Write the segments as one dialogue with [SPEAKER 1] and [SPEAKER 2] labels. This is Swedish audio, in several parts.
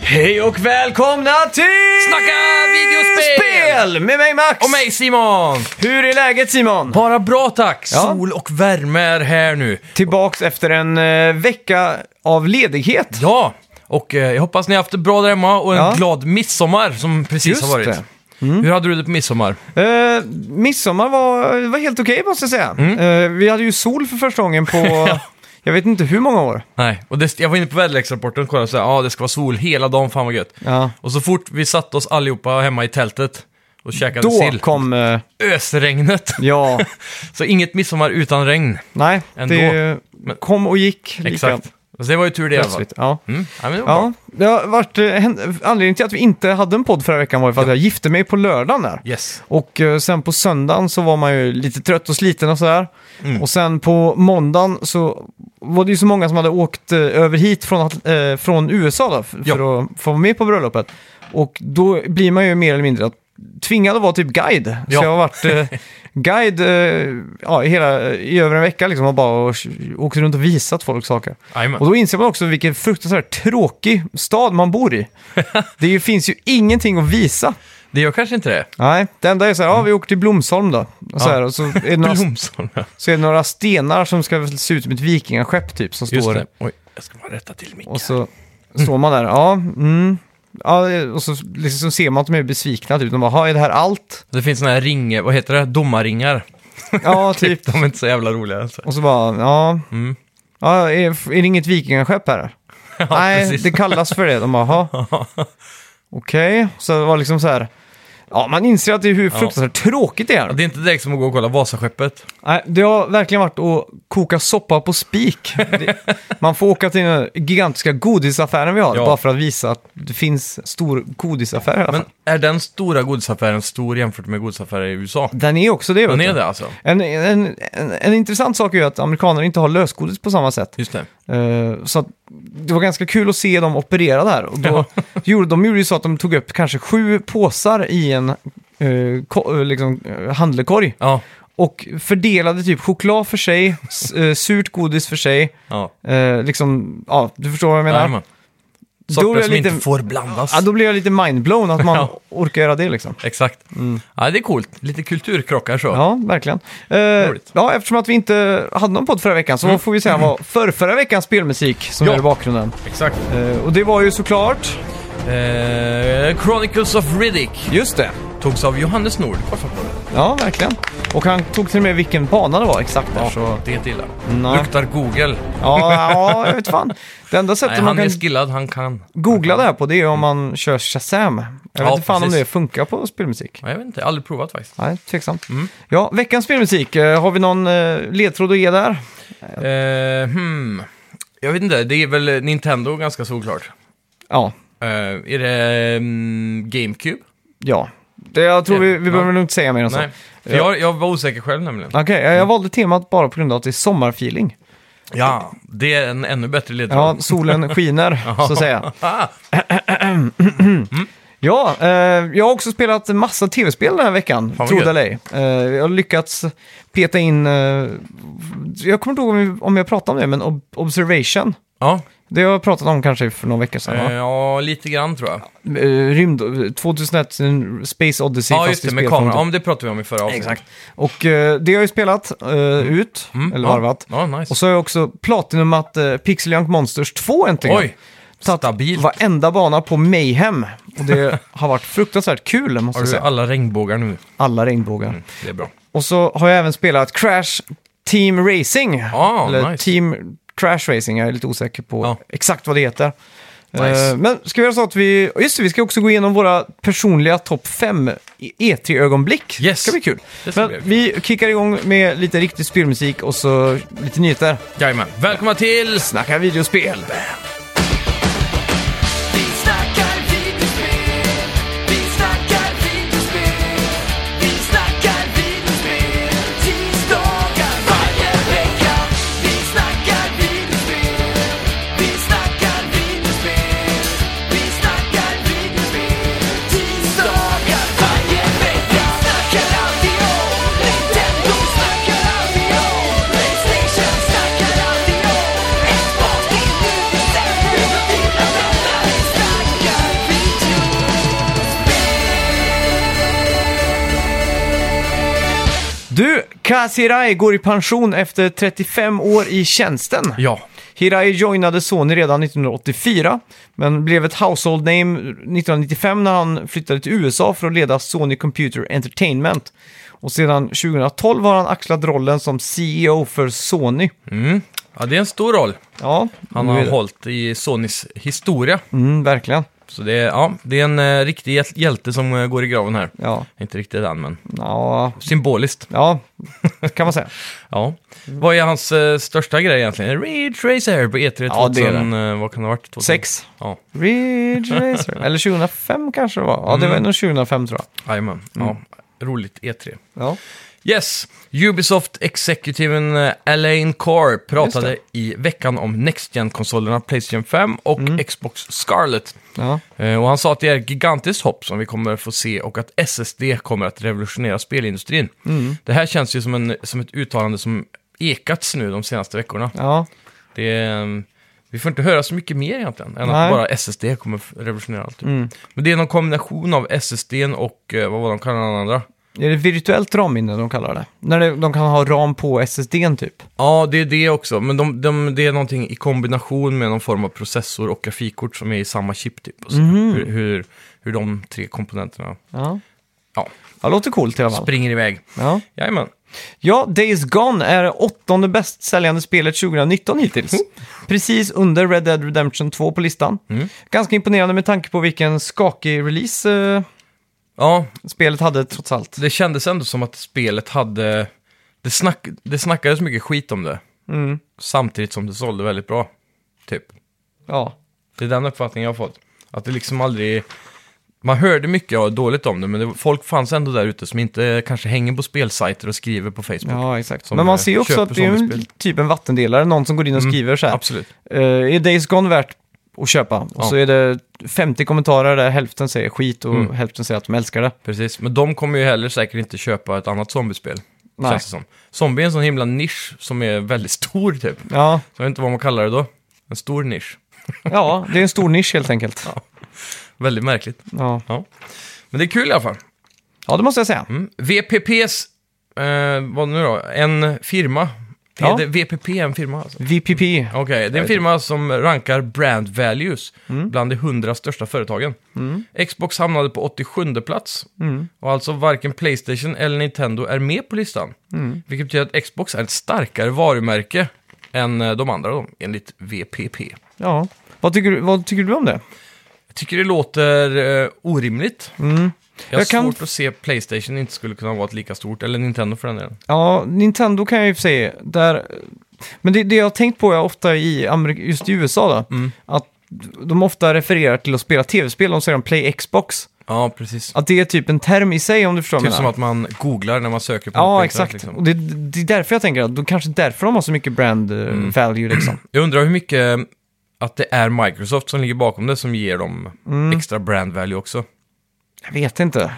[SPEAKER 1] Hej och välkomna till
[SPEAKER 2] Snacka videospel!
[SPEAKER 1] Spel Med mig Max!
[SPEAKER 2] Och mig Simon!
[SPEAKER 1] Hur är läget Simon?
[SPEAKER 2] Bara bra tack!
[SPEAKER 1] Ja.
[SPEAKER 2] Sol och värme är här nu.
[SPEAKER 1] Tillbaks efter en eh, vecka av ledighet.
[SPEAKER 2] Ja, och eh, jag hoppas ni har haft det bra där hemma och en
[SPEAKER 1] Ja.
[SPEAKER 2] glad midsommar som precis
[SPEAKER 1] Just
[SPEAKER 2] har varit. Mm.
[SPEAKER 1] det.
[SPEAKER 2] Hur hade du det på midsommar?
[SPEAKER 1] Eh, midsommar var, var helt okej måste jag säga.
[SPEAKER 2] Mm.
[SPEAKER 1] Eh, vi hade ju sol för första gången på, jag vet inte hur många år.
[SPEAKER 2] Nej, och det, jag var inne på väderleksrapporten och kollade och sa ja ah, det ska vara sol hela dagen, fan vad gött.
[SPEAKER 1] Ja.
[SPEAKER 2] Och så fort vi satte oss allihopa hemma i tältet och käkade
[SPEAKER 1] Då
[SPEAKER 2] sill,
[SPEAKER 1] kom, eh,
[SPEAKER 2] ösregnet.
[SPEAKER 1] ja,
[SPEAKER 2] Så inget midsommar utan regn.
[SPEAKER 1] nej,
[SPEAKER 2] Ändå.
[SPEAKER 1] det
[SPEAKER 2] Men-
[SPEAKER 1] kom och gick lika
[SPEAKER 2] Exakt. Så det var ju tur det i alla fall.
[SPEAKER 1] plötsligt. Ja.
[SPEAKER 2] Mm. Ja, men det var bra.
[SPEAKER 1] Ja, det har varit, eh, händ- anledningen till att vi inte hade en podd förra veckan var ju för att jag gifte mig på lördagen där.
[SPEAKER 2] Yes.
[SPEAKER 1] Och eh, sen på söndagen så var man ju lite trött och sliten och sådär.
[SPEAKER 2] Mm.
[SPEAKER 1] Och sen på måndagen så var det ju så många som hade åkt eh, över hit från, att- eh, från USA då, f- för
[SPEAKER 2] Ja.
[SPEAKER 1] att få vara med på bröllopet. Och då blir man ju mer eller mindre att tvingad att vara typ guide.
[SPEAKER 2] Ja.
[SPEAKER 1] Så jag har varit eh, guide eh, ja, i hela, i över en vecka liksom och bara och, åkt runt och visat folk saker.
[SPEAKER 2] Jajamän.
[SPEAKER 1] Och då inser man också vilken fruktansvärt tråkig stad man bor i. det ju, finns ju ingenting att visa.
[SPEAKER 2] Det gör kanske inte det.
[SPEAKER 1] Nej, det enda är så här, ja vi åker till Blomsholm då. Och så, här, och så, är det några,
[SPEAKER 2] Blomsholm, ja.
[SPEAKER 1] så är det några stenar som ska se ut som ett vikingaskepp typ som
[SPEAKER 2] Just
[SPEAKER 1] står.
[SPEAKER 2] det. Oj, jag ska bara rätta till micken.
[SPEAKER 1] Och så står man där, ja, mm. ja och så liksom ser man att de är besvikna typ. De bara, "Ha, är det här allt?
[SPEAKER 2] Det finns såna här ringar, vad heter det? Domarringar.
[SPEAKER 1] Ja, typ.
[SPEAKER 2] De är inte så jävla roliga. Alltså.
[SPEAKER 1] Och så bara, ja.
[SPEAKER 2] Mm.
[SPEAKER 1] ja är, är det inget vikingaskepp här? Nej,
[SPEAKER 2] precis.
[SPEAKER 1] det kallas för det. De bara, "Ha." okej. Så det var liksom så här, ja man inser att det är hur fruktansvärt tråkigt det är.
[SPEAKER 2] Det är inte direkt som att gå och kolla Vasaskeppet.
[SPEAKER 1] Nej, det har verkligen varit att koka soppa på spik. Det, man får åka till den gigantiska godisaffären vi har,
[SPEAKER 2] Ja.
[SPEAKER 1] bara för att visa att det finns stor godisaffär i alla fall.
[SPEAKER 2] Men är den stora godisaffären stor jämfört med godisaffärer i USA?
[SPEAKER 1] Den är också det, vet
[SPEAKER 2] Den
[SPEAKER 1] du.
[SPEAKER 2] är det alltså?
[SPEAKER 1] En, en, en, en intressant sak är ju att amerikaner inte har lösgodis på samma sätt.
[SPEAKER 2] Just det.
[SPEAKER 1] Eh, så att det var ganska kul att se dem operera där. Och då
[SPEAKER 2] Ja.
[SPEAKER 1] gjorde, de gjorde ju så att de tog upp kanske sju påsar i en eh, ko, eh, liksom, eh, handlekorg
[SPEAKER 2] Ja,
[SPEAKER 1] och fördelade typ choklad för sig, s- eh, surt godis för sig,
[SPEAKER 2] ja.
[SPEAKER 1] Eh, liksom, ja, du förstår vad jag menar.
[SPEAKER 2] Jajamän.
[SPEAKER 1] Då
[SPEAKER 2] Saker
[SPEAKER 1] blir
[SPEAKER 2] som
[SPEAKER 1] jag lite-
[SPEAKER 2] inte får blandas.
[SPEAKER 1] ja, då blir jag lite mindblown att man
[SPEAKER 2] Ja.
[SPEAKER 1] orkar göra det liksom.
[SPEAKER 2] Exakt. Ja, det är coolt. Lite kulturkrockar så.
[SPEAKER 1] Ja, verkligen. Eh,
[SPEAKER 2] Roligt. Mm.
[SPEAKER 1] ja, eftersom att vi inte hade någon podd förra veckan så får vi säga vad förrförra veckans spelmusik som
[SPEAKER 2] Ja.
[SPEAKER 1] är i bakgrunden.
[SPEAKER 2] Exakt.
[SPEAKER 1] Eh, och det var ju såklart...
[SPEAKER 2] Eh, Chronicles of Riddick
[SPEAKER 1] Just det.
[SPEAKER 2] togs av Johannes Nord. Varför på det?
[SPEAKER 1] Ja, verkligen. Och han tog till och med vilken bana det var exakt där. Ja, så...
[SPEAKER 2] Det är inte illa.
[SPEAKER 1] Nej.
[SPEAKER 2] Luktar Google.
[SPEAKER 1] ja, ja jag vet fan. Det enda sättet
[SPEAKER 2] Nej,
[SPEAKER 1] man
[SPEAKER 2] han
[SPEAKER 1] kan
[SPEAKER 2] är skillad, han kan.
[SPEAKER 1] googla det här på det är ju om man kör Shazam. Jag vet
[SPEAKER 2] Ja,
[SPEAKER 1] inte fan om
[SPEAKER 2] precis.
[SPEAKER 1] det funkar på spelmusik.
[SPEAKER 2] Ja, jag vet inte, jag har aldrig provat faktiskt.
[SPEAKER 1] Nej, tveksamt.
[SPEAKER 2] Mm.
[SPEAKER 1] Ja, veckans spelmusik. eh, Har vi någon eh, ledtråd att ge där?
[SPEAKER 2] Eh, hmm. Jag vet inte, det är väl Nintendo ganska såklart.
[SPEAKER 1] Ja,
[SPEAKER 2] Eh, är det mm, GameCube?
[SPEAKER 1] ja. Det, jag tror vi, vi
[SPEAKER 2] Ja.
[SPEAKER 1] behöver nog inte säga mer än så.
[SPEAKER 2] Nej. Mm. För jag, jag var osäker själv nämligen.
[SPEAKER 1] Okej, jag- jag valde temat bara på grund av att det är sommarfeeling.
[SPEAKER 2] Ja, det är en ännu bättre ledtråd.
[SPEAKER 1] Ja, solen skiner, så att säga.
[SPEAKER 2] Ah,
[SPEAKER 1] Ja, eh, jag har också spelat en massa tv-spel den här veckan,
[SPEAKER 2] vad
[SPEAKER 1] tro det
[SPEAKER 2] gött.
[SPEAKER 1] eller ej. Eh, Jag har lyckats peta in, eh, jag kommer inte ihåg om vi- om jag pratade om det, men Ob- Observation.
[SPEAKER 2] ja,
[SPEAKER 1] Det har jag pratat om kanske för några veckor sedan.
[SPEAKER 2] eh,
[SPEAKER 1] va?
[SPEAKER 2] ja, lite grann tror jag.
[SPEAKER 1] Eh, Rymd, 2001, en Space Odyssey.
[SPEAKER 2] Ja,
[SPEAKER 1] fast
[SPEAKER 2] just
[SPEAKER 1] i
[SPEAKER 2] det, med
[SPEAKER 1] spelform
[SPEAKER 2] kameran.
[SPEAKER 1] då.
[SPEAKER 2] Ja, men det pratade vi om i förra avsnittet.
[SPEAKER 1] Exakt. Och eh, det har jag ju spelat eh, ut,
[SPEAKER 2] Mm,
[SPEAKER 1] eller
[SPEAKER 2] ja.
[SPEAKER 1] varvat.
[SPEAKER 2] Ja, nice.
[SPEAKER 1] Och så har jag också platinumat eh, Pixel Junk Monsters 2 äntligen.
[SPEAKER 2] Oj,
[SPEAKER 1] Tagit
[SPEAKER 2] stabilt.
[SPEAKER 1] varenda bana på Mayhem. Och det har varit fruktansvärt kul, måste
[SPEAKER 2] har
[SPEAKER 1] jag
[SPEAKER 2] du
[SPEAKER 1] säga.
[SPEAKER 2] alla regnbågar nu? Mm,
[SPEAKER 1] Alla regnbågar.
[SPEAKER 2] Det är bra.
[SPEAKER 1] Och så har jag även spelat Crash Team Racing.
[SPEAKER 2] Ah,
[SPEAKER 1] eller
[SPEAKER 2] nice.
[SPEAKER 1] Team Crash Racing, jag är lite osäker på
[SPEAKER 2] Ja.
[SPEAKER 1] exakt vad det heter.
[SPEAKER 2] Nice.
[SPEAKER 1] Eh, Men ska vi göra så att vi... och Just det, vi ska också gå igenom våra personliga topp 5 E3-ögonblick.
[SPEAKER 2] Yes.
[SPEAKER 1] ska bli kul.
[SPEAKER 2] Det ska
[SPEAKER 1] Men
[SPEAKER 2] bli
[SPEAKER 1] vi kickar igång med lite riktig spelmusik och så lite nyheter.
[SPEAKER 2] Jajamän. Välkomna till...
[SPEAKER 1] Snacka videospel!
[SPEAKER 3] Vi snackar videospel, vi snackar videospel, vi snackar videospel, tisdagar varje vecka. Vi snackar videospel, vi snackar videospel, vi snackar videospel, tisdagar varje vecka. Snackar alltid om Nintendo, snackar alltid om Playstation, snackar alltid om Xbox, det är nu vi sänder.
[SPEAKER 1] Kaz Hirai går i pension efter 35 år i tjänsten.
[SPEAKER 2] Ja.
[SPEAKER 1] Hirai joinade Sony redan 1984, men blev ett household name 1995 när han flyttade till USA för att leda Sony Computer Entertainment. Och sedan 2012 har han axlat rollen som CEO för Sony.
[SPEAKER 2] Mm. ja, det är en stor roll
[SPEAKER 1] Ja,
[SPEAKER 2] han
[SPEAKER 1] nu är
[SPEAKER 2] har
[SPEAKER 1] det.
[SPEAKER 2] hållit i Sonys historia.
[SPEAKER 1] Mm, verkligen.
[SPEAKER 2] Så det är, ja, det är en eh, riktig hjäl- hjälte som eh, går i graven här.
[SPEAKER 1] Ja,
[SPEAKER 2] Inte riktigt än, men
[SPEAKER 1] ja,
[SPEAKER 2] symboliskt.
[SPEAKER 1] ja kan man säga.
[SPEAKER 2] Ja. Vad är hans eh, största grej egentligen? Ridge Racer på E3
[SPEAKER 1] Ja, det är
[SPEAKER 2] 2000, eh, vad kan det ha varit? 2000?
[SPEAKER 1] Sex.
[SPEAKER 2] Ja,
[SPEAKER 1] Ridge Racer. Eller 2005 kanske det var. Ja,
[SPEAKER 2] Mm.
[SPEAKER 1] det var nog 2005 tror jag.
[SPEAKER 2] jajamän.
[SPEAKER 1] Mm.
[SPEAKER 2] Ja, roligt E3.
[SPEAKER 1] Ja.
[SPEAKER 2] Yes, Ubisoft executiven eh, Alain Carr pratade
[SPEAKER 1] Just
[SPEAKER 2] i veckan om Next Gen-konsolerna Playstation 5 och
[SPEAKER 1] Mm.
[SPEAKER 2] Xbox Scarlet.
[SPEAKER 1] Ja.
[SPEAKER 2] Eh, Och han sa att det är ett gigantiskt hopp som vi kommer få se och att SSD kommer att revolutionera spelindustrin.
[SPEAKER 1] mm.
[SPEAKER 2] Det här känns ju som, en, som ett uttalande som ekats nu de senaste veckorna.
[SPEAKER 1] ja.
[SPEAKER 2] Det är, ehm, vi får inte höra så mycket mer egentligen än
[SPEAKER 1] Nej.
[SPEAKER 2] att bara SSD kommer f- revolutionera allt. Typ. Men det är någon kombination av SSD och eh, vad var de kallade den andra?
[SPEAKER 1] Är det virtuellt ramminne de kallar det? När det, de kan ha ram på SSDn typ?
[SPEAKER 2] Ja, det är det också. Men de, de, det är någonting i kombination med någon form av processor och grafikkort som är i samma chip typ. Och så. Hur, hur, hur de tre komponenterna
[SPEAKER 1] Ja.
[SPEAKER 2] ja,
[SPEAKER 1] Ja, låter coolt i alla fall.
[SPEAKER 2] springer iväg.
[SPEAKER 1] Ja.
[SPEAKER 2] Jajamän.
[SPEAKER 1] ja, Days Gone är det åttonde bäst säljande spelet 2019 hittills. Precis under Red Dead Redemption 2 på listan. Ganska imponerande med tanke på vilken skakig release eh,
[SPEAKER 2] Ja,
[SPEAKER 1] spelet hade trots allt.
[SPEAKER 2] det kändes ändå som att spelet hade... Det, snack, det snackades mycket skit om det.
[SPEAKER 1] Mm.
[SPEAKER 2] Samtidigt som det sålde väldigt bra. Typ.
[SPEAKER 1] Ja,
[SPEAKER 2] Det är den uppfattningen jag har fått. Att det liksom aldrig... Man hörde mycket och dåligt om det, men det, folk fanns ändå där ute som inte eh, kanske hänger på spelsajter och skriver på Facebook.
[SPEAKER 1] ja exakt.
[SPEAKER 2] Som,
[SPEAKER 1] Men man
[SPEAKER 2] eh,
[SPEAKER 1] ser ju också
[SPEAKER 2] köper
[SPEAKER 1] att det Mm. är en,
[SPEAKER 2] zombiespel.
[SPEAKER 1] typ en vattendelare, någon som går in och skriver så här.
[SPEAKER 2] Absolut.
[SPEAKER 1] Eh, är Days Gone värt att köpa? Och
[SPEAKER 2] Ja.
[SPEAKER 1] så är det 50 kommentarer där hälften säger skit och hälften säger att de älskar det.
[SPEAKER 2] Precis, men de kommer ju heller säkert inte köpa ett annat zombiespel.
[SPEAKER 1] Nej.
[SPEAKER 2] Känns det som. Zombie är en sån himla nisch som är väldigt stor typ.
[SPEAKER 1] Ja,
[SPEAKER 2] Så jag vet inte vad man kallar det då. En stor nisch.
[SPEAKER 1] ja det är en stor nisch helt enkelt.
[SPEAKER 2] Väldigt märkligt.
[SPEAKER 1] Ja,
[SPEAKER 2] Ja. Men det är kul i alla fall.
[SPEAKER 1] ja det måste jag säga.
[SPEAKER 2] Mm. VPPs, eh, vad nu då? En firma.
[SPEAKER 1] Ja.
[SPEAKER 2] Är det VPP en firma alltså?
[SPEAKER 1] VPP.
[SPEAKER 2] Okej, det är en firma som rankar brand values
[SPEAKER 1] Mm.
[SPEAKER 2] bland de 100 största företagen. Xbox hamnade på 87 plats
[SPEAKER 1] Mm.
[SPEAKER 2] och alltså varken Playstation eller Nintendo är med på listan.
[SPEAKER 1] Mm.
[SPEAKER 2] Vilket betyder att Xbox är ett starkare varumärke än eh, de andra då, enligt VPP.
[SPEAKER 1] Ja. Vad, tycker, du- vad tycker du om det?
[SPEAKER 2] Jag tycker det låter eh, orimligt. Jag har
[SPEAKER 1] Mm. Jag kan-
[SPEAKER 2] svårt att se Playstation inte skulle kunna vara ett lika stort, eller Nintendo för den delen.
[SPEAKER 1] Ja, Nintendo kan jag ju säga. Där, men det, det jag har tänkt på är ofta i Amerika, just i USA då,
[SPEAKER 2] Mm.
[SPEAKER 1] att de ofta refererar till att spela tv-spel, de säger de play Xbox.
[SPEAKER 2] Ja, precis.
[SPEAKER 1] Att det är typ en term i sig om du förstår vad
[SPEAKER 2] Typ
[SPEAKER 1] jag
[SPEAKER 2] som
[SPEAKER 1] menar.
[SPEAKER 2] att man googlar när man söker på något på
[SPEAKER 1] Ja,
[SPEAKER 2] internet,
[SPEAKER 1] exakt. Och det, det är därför jag tänker att de kanske därför de har så mycket brand eh,
[SPEAKER 2] Mm.
[SPEAKER 1] value liksom.
[SPEAKER 2] Jag undrar hur mycket att det är Microsoft som ligger bakom det som ger dem extra brand value också.
[SPEAKER 1] Jag vet inte.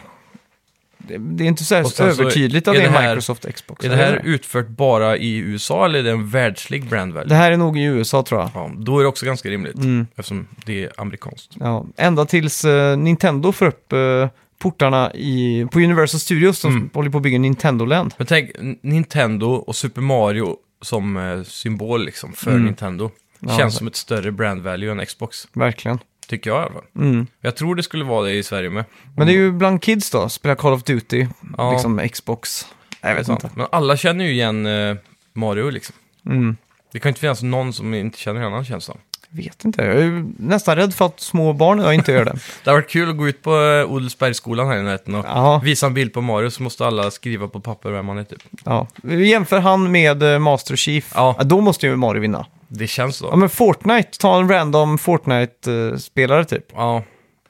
[SPEAKER 1] Det, det är inte så, här
[SPEAKER 2] Och sen så
[SPEAKER 1] övertydligt att
[SPEAKER 2] är
[SPEAKER 1] det är
[SPEAKER 2] det här-
[SPEAKER 1] Microsoft Xbox.
[SPEAKER 2] Är det här
[SPEAKER 1] eller?
[SPEAKER 2] utfört bara i USA eller är det en världslig brand value?
[SPEAKER 1] det här är nog i USA tror jag.
[SPEAKER 2] Ja, då är det också ganska rimligt eftersom det är amerikanskt.
[SPEAKER 1] Ja, ända tills eh, Nintendo får upp eh, portarna i, på Universal Studios som håller på att bygga Nintendo Land.
[SPEAKER 2] Men tänk N- Nintendo och Super Mario som eh, symbol liksom för Nintendo. Känns
[SPEAKER 1] exakt.
[SPEAKER 2] som ett större brand value än Xbox,
[SPEAKER 1] Verkligen. Mm.
[SPEAKER 2] tycker jag i alla fall. Jag tror det skulle vara det i Sverige med.
[SPEAKER 1] Men det är ju bland kids då, spela Call of Duty,
[SPEAKER 2] Ja.
[SPEAKER 1] liksom Xbox. Nej, Jag vet
[SPEAKER 2] Ja,
[SPEAKER 1] inte.
[SPEAKER 2] Men alla känner ju igen eh, Mario liksom.
[SPEAKER 1] Mm.
[SPEAKER 2] Det kan ju inte finnas någon som inte känner igen honom känns det som.
[SPEAKER 1] Jag vet inte. Jag är ju nästan rädd för att små barn jag inte gör det.
[SPEAKER 2] Det har varit kul att gå ut på eh, Odelsbergsskolan här i närheten och
[SPEAKER 1] Ja.
[SPEAKER 2] visa en bild på Mario så måste alla skriva på papper vem man är typ.
[SPEAKER 1] Ja. Jämför han med eh, Master Chief, ja.
[SPEAKER 2] Ja.
[SPEAKER 1] då måste ju Mario vinna.
[SPEAKER 2] Det känns så.
[SPEAKER 1] Ja men Fortnite, ta en random Fortnite-spelare typ,
[SPEAKER 2] Ja,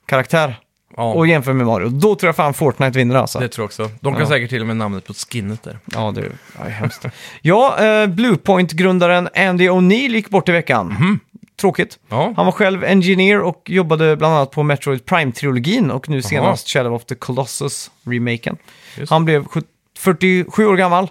[SPEAKER 1] karaktär,
[SPEAKER 2] ja
[SPEAKER 1] och jämför med Mario. Då tror jag fan Fortnite vinner alltså.
[SPEAKER 2] det tror jag också. De kan
[SPEAKER 1] Ja.
[SPEAKER 2] säkert till och med namnet på skinnet där.
[SPEAKER 1] Ja, det ja, det är hemskt. ja, eh, Bluepoint-grundaren Andy O'Neill gick bort i veckan. Tråkigt.
[SPEAKER 2] Ja,
[SPEAKER 1] Han var själv engineer och jobbade bland annat på Metroid Prime-trilogin och nu senast Shadow of the Colossus-remaken.
[SPEAKER 2] Just.
[SPEAKER 1] Han blev sjut- 47 år gammal.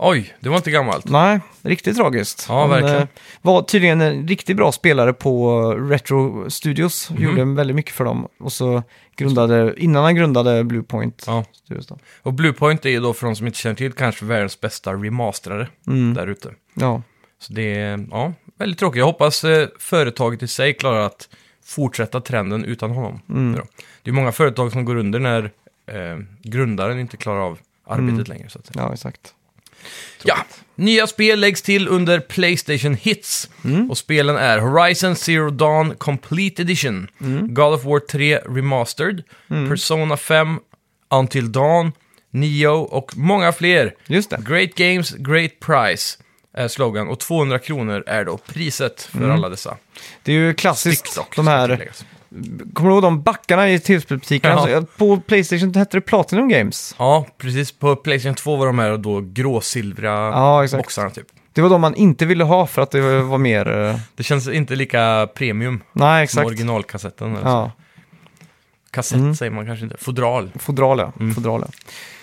[SPEAKER 2] Oj, det var inte gammalt.
[SPEAKER 1] Nej, riktigt tragiskt. eh,
[SPEAKER 2] Ja, verkligen.
[SPEAKER 1] var tydligen en riktigt bra spelare på eh, Retro Studios. Gjorde väldigt mycket för dem. Och så grundade, innan han grundade Bluepoint
[SPEAKER 2] Ja.
[SPEAKER 1] Studios då.
[SPEAKER 2] Och Bluepoint är ju då, för de som inte känner till, kanske världens bästa remasterare
[SPEAKER 1] Mm.
[SPEAKER 2] där ute.
[SPEAKER 1] Ja,
[SPEAKER 2] Så det är, ja, väldigt tråkigt. Jag hoppas eh, företaget i sig klarar att fortsätta trenden utan honom.
[SPEAKER 1] Mm.
[SPEAKER 2] Ja. Det är många företag som går under när eh, grundaren inte klarar av arbetet
[SPEAKER 1] Mm.
[SPEAKER 2] längre. Så att säga.
[SPEAKER 1] ja exakt.
[SPEAKER 2] Ja, nya spel läggs till under Playstation Hits.
[SPEAKER 1] Mm.
[SPEAKER 2] Och spelen är Horizon Zero Dawn Complete Edition,
[SPEAKER 1] Mm.
[SPEAKER 2] God of War 3 Remastered, Persona 5, Until Dawn, Neo och många fler.
[SPEAKER 1] Just det.
[SPEAKER 2] Great Games, Great Price är slogan och 200 kronor är då priset för alla dessa.
[SPEAKER 1] Det är ju klassiskt,
[SPEAKER 2] Stickdock,
[SPEAKER 1] Mm. de
[SPEAKER 2] ska
[SPEAKER 1] här...
[SPEAKER 2] tilläggas.
[SPEAKER 1] Kommer du ihåg de backarna i tv-spelsbutiken?
[SPEAKER 2] Ja.
[SPEAKER 1] Alltså, på Playstation hette det Platinum Games.
[SPEAKER 2] Ja, precis. På Playstation 2 var de här då gråsilvriga
[SPEAKER 1] Ja, exakt.
[SPEAKER 2] boxarna typ.
[SPEAKER 1] Det var de man inte ville ha för att det var mer... eh,
[SPEAKER 2] Det känns inte lika premium
[SPEAKER 1] Nej,
[SPEAKER 2] som
[SPEAKER 1] exakt.
[SPEAKER 2] originalkassetten. Eller så.
[SPEAKER 1] Ja,
[SPEAKER 2] Kassett
[SPEAKER 1] Mm.
[SPEAKER 2] säger man kanske inte. Fodral.
[SPEAKER 1] fodral ja. Fodral, ja.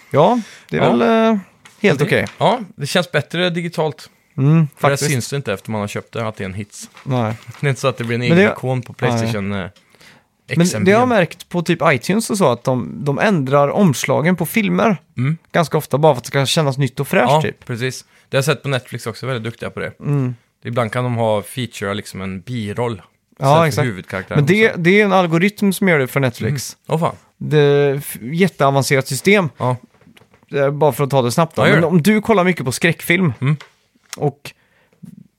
[SPEAKER 1] ja, det är
[SPEAKER 2] Mm. Ja.
[SPEAKER 1] väl eh, helt okej.
[SPEAKER 2] Ja, det känns bättre digitalt.
[SPEAKER 1] Mm,
[SPEAKER 2] För det
[SPEAKER 1] faktiskt.
[SPEAKER 2] syns det inte efter man har köpt det att det är en hits.
[SPEAKER 1] Nej.
[SPEAKER 2] Det är inte så att det blir en
[SPEAKER 1] Men
[SPEAKER 2] egen
[SPEAKER 1] det-
[SPEAKER 2] ikon på Playstation eh,
[SPEAKER 1] Men
[SPEAKER 2] XMB.
[SPEAKER 1] det har jag märkt på typ iTunes och så att de, de ändrar omslagen på filmer
[SPEAKER 2] Mm.
[SPEAKER 1] ganska ofta bara för att det ska kännas nytt och fräscht
[SPEAKER 2] Ja,
[SPEAKER 1] typ. Mm.
[SPEAKER 2] precis. Det har jag sett på Netflix också, väldigt duktiga på det. Ibland kan de ha feature, liksom en biroll. istället för
[SPEAKER 1] exakt.
[SPEAKER 2] Huvudkaraktären.
[SPEAKER 1] Men det, det är en algoritm som gör det för Netflix.
[SPEAKER 2] Åh fan.
[SPEAKER 1] Det är f- jätteavancerat system,
[SPEAKER 2] Ja.
[SPEAKER 1] eh, bara för att ta det snabbt. Då.
[SPEAKER 2] Ja, gör
[SPEAKER 1] Men
[SPEAKER 2] det. Mm.
[SPEAKER 1] om du kollar mycket på skräckfilm och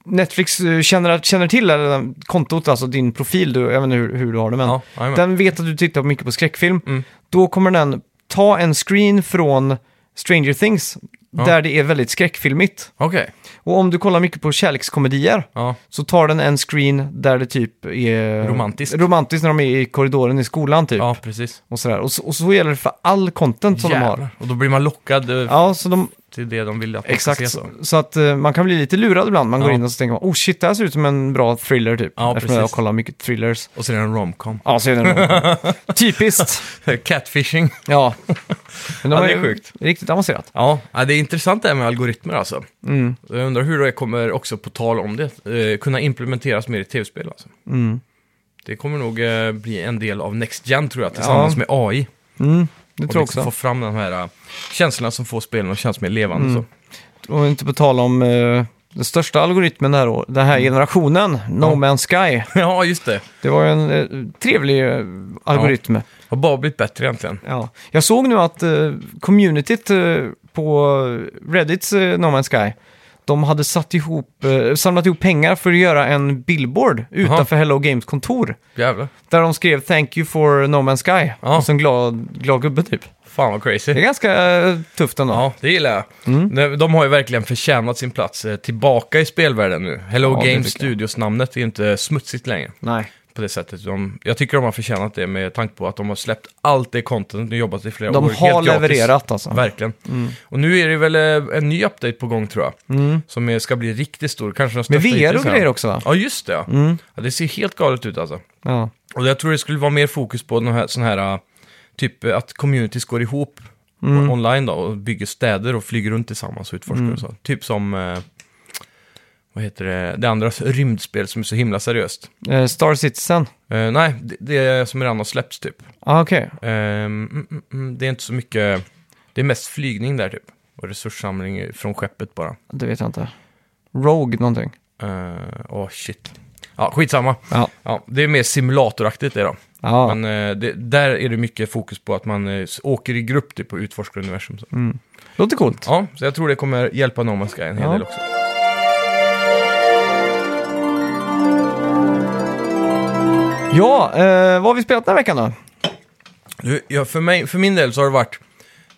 [SPEAKER 1] Netflix eh, känner, att- känner till det här kontot, alltså din profil, du, jag vet inte hur, hur du har det men.
[SPEAKER 2] Ja, jajamän.
[SPEAKER 1] den vet att du tittar mycket på skräckfilm.
[SPEAKER 2] Mm.
[SPEAKER 1] Då kommer den ta en screen från Stranger Things,
[SPEAKER 2] Ja.
[SPEAKER 1] där det är väldigt skräckfilmigt.
[SPEAKER 2] Okej.
[SPEAKER 1] Och om du kollar mycket på kärlekskomedier,
[SPEAKER 2] Ja.
[SPEAKER 1] så tar den en screen där det typ är...
[SPEAKER 2] Romantiskt.
[SPEAKER 1] Romantiskt när de är i korridoren i skolan typ.
[SPEAKER 2] ja, precis.
[SPEAKER 1] Och, sådär. Och, så, och så gäller det för all content som de har.
[SPEAKER 2] Jävlar. Och då blir man lockad eh,
[SPEAKER 1] Ja, så de,
[SPEAKER 2] till det de vill att man ska se.
[SPEAKER 1] exakt.
[SPEAKER 2] Så.
[SPEAKER 1] Så, så att eh, man kan bli lite lurad ibland. Man går
[SPEAKER 2] Ja.
[SPEAKER 1] in och så tänker man, oh shit, det här ser ut som en bra thriller typ.
[SPEAKER 2] Ja,
[SPEAKER 1] Eftersom jag
[SPEAKER 2] precis.
[SPEAKER 1] kollar mycket thrillers.
[SPEAKER 2] Och sen är det en romcom.
[SPEAKER 1] Ja, så är det nog. Typiskt.
[SPEAKER 2] Catfishing.
[SPEAKER 1] Ja. Men de
[SPEAKER 2] Ja, det
[SPEAKER 1] ju
[SPEAKER 2] är sjukt.
[SPEAKER 1] Riktigt avancerat. Mm,
[SPEAKER 2] Ja, ja, det är intressant det här med algoritmer alltså. Jag undrar hur det kommer också på tal om det, eh, kunna implementeras mer i tv-spel alltså.
[SPEAKER 1] mm.
[SPEAKER 2] Det kommer nog eh, bli en del av Next Gen tror jag, tillsammans
[SPEAKER 1] Ja.
[SPEAKER 2] med AI.
[SPEAKER 1] Mm, det
[SPEAKER 2] Och
[SPEAKER 1] tror jag
[SPEAKER 2] liksom
[SPEAKER 1] också.
[SPEAKER 2] få fram de här eh, känslorna som får spelen att kännas mer levande.
[SPEAKER 1] Mm.
[SPEAKER 2] Så.
[SPEAKER 1] Och inte på tal om eh, den största algoritmen den här, år- den
[SPEAKER 2] Mm.
[SPEAKER 1] här generationen, No Man's Sky.
[SPEAKER 2] ja, just det.
[SPEAKER 1] Det var ju en eh, trevlig eh, algoritm. Ja.
[SPEAKER 2] Har bara blivit bättre egentligen.
[SPEAKER 1] Jag såg nu att eh, communityt eh, på Reddits eh, No Man's Sky, de hade satt ihop, eh, samlat ihop pengar för att göra en billboard utanför Hello Games kontor.
[SPEAKER 2] Jävlar.
[SPEAKER 1] Där de skrev “Thank you for No Man's Sky”
[SPEAKER 2] Ja.
[SPEAKER 1] och så en glad, glad gubbe typ.
[SPEAKER 2] Fan vad crazy.
[SPEAKER 1] Det är Mm. ganska eh, tufft ändå.
[SPEAKER 2] Ja, det gillar jag. Nej, De har ju verkligen förtjänat sin plats eh, tillbaka i spelvärlden nu. Hello
[SPEAKER 1] Ja, det
[SPEAKER 2] Games
[SPEAKER 1] tycker jag.
[SPEAKER 2] Studios-namnet är ju inte smutsigt längre.
[SPEAKER 1] Nej.
[SPEAKER 2] på det sättet. De, jag tycker de har förtjänat det med tanke på att de har släppt allt det content och jobbat i flera
[SPEAKER 1] De
[SPEAKER 2] år.
[SPEAKER 1] har
[SPEAKER 2] helt gratis.
[SPEAKER 1] levererat alltså.
[SPEAKER 2] Verkligen. Och nu är det väl eh, en ny update på gång tror jag. Som är- ska bli riktigt stor. Kanske den
[SPEAKER 1] Mm. Med
[SPEAKER 2] största
[SPEAKER 1] VR
[SPEAKER 2] hittills
[SPEAKER 1] och
[SPEAKER 2] här.
[SPEAKER 1] grejer också va? Mm.
[SPEAKER 2] Ja, just det. Ja. Ja, det ser helt galet ut alltså.
[SPEAKER 1] Ja.
[SPEAKER 2] Och jag tror det skulle vara mer fokus på de här, sån här, eh, typ eh, att communities går ihop
[SPEAKER 1] Mm.
[SPEAKER 2] online då och bygger städer och flyger runt tillsammans och utforskar och så. Typ som, eh, vad heter det, det andra rymdspel som är så himla seriöst.
[SPEAKER 1] Eh, Star Citizen.
[SPEAKER 2] Eh, nej, det, det är som redan har släppts typ.
[SPEAKER 1] Ah, Okej,
[SPEAKER 2] Ehm, mm, mm, mm, det är inte så mycket, det är mest flygning där typ. Och resurssamling från skeppet bara.
[SPEAKER 1] det vet jag inte. Rogue någonting.
[SPEAKER 2] Ehm, Åh shit. Ja, skitsamma.
[SPEAKER 1] Ja.
[SPEAKER 2] Ja, det är mer simulatoraktigt det då.
[SPEAKER 1] Ja,
[SPEAKER 2] Men eh, det, där är det mycket fokus på att man eh, s- åker i grupp typ och utforskar universum. Så.
[SPEAKER 1] Mm. låter coolt.
[SPEAKER 2] Ja, så jag tror det kommer hjälpa No Man's Sky en hel
[SPEAKER 1] Ja.
[SPEAKER 2] del också.
[SPEAKER 1] Ja, eh, vad har vi spelat den här veckan då?
[SPEAKER 2] Du, ja, för, mig, för min del så har det varit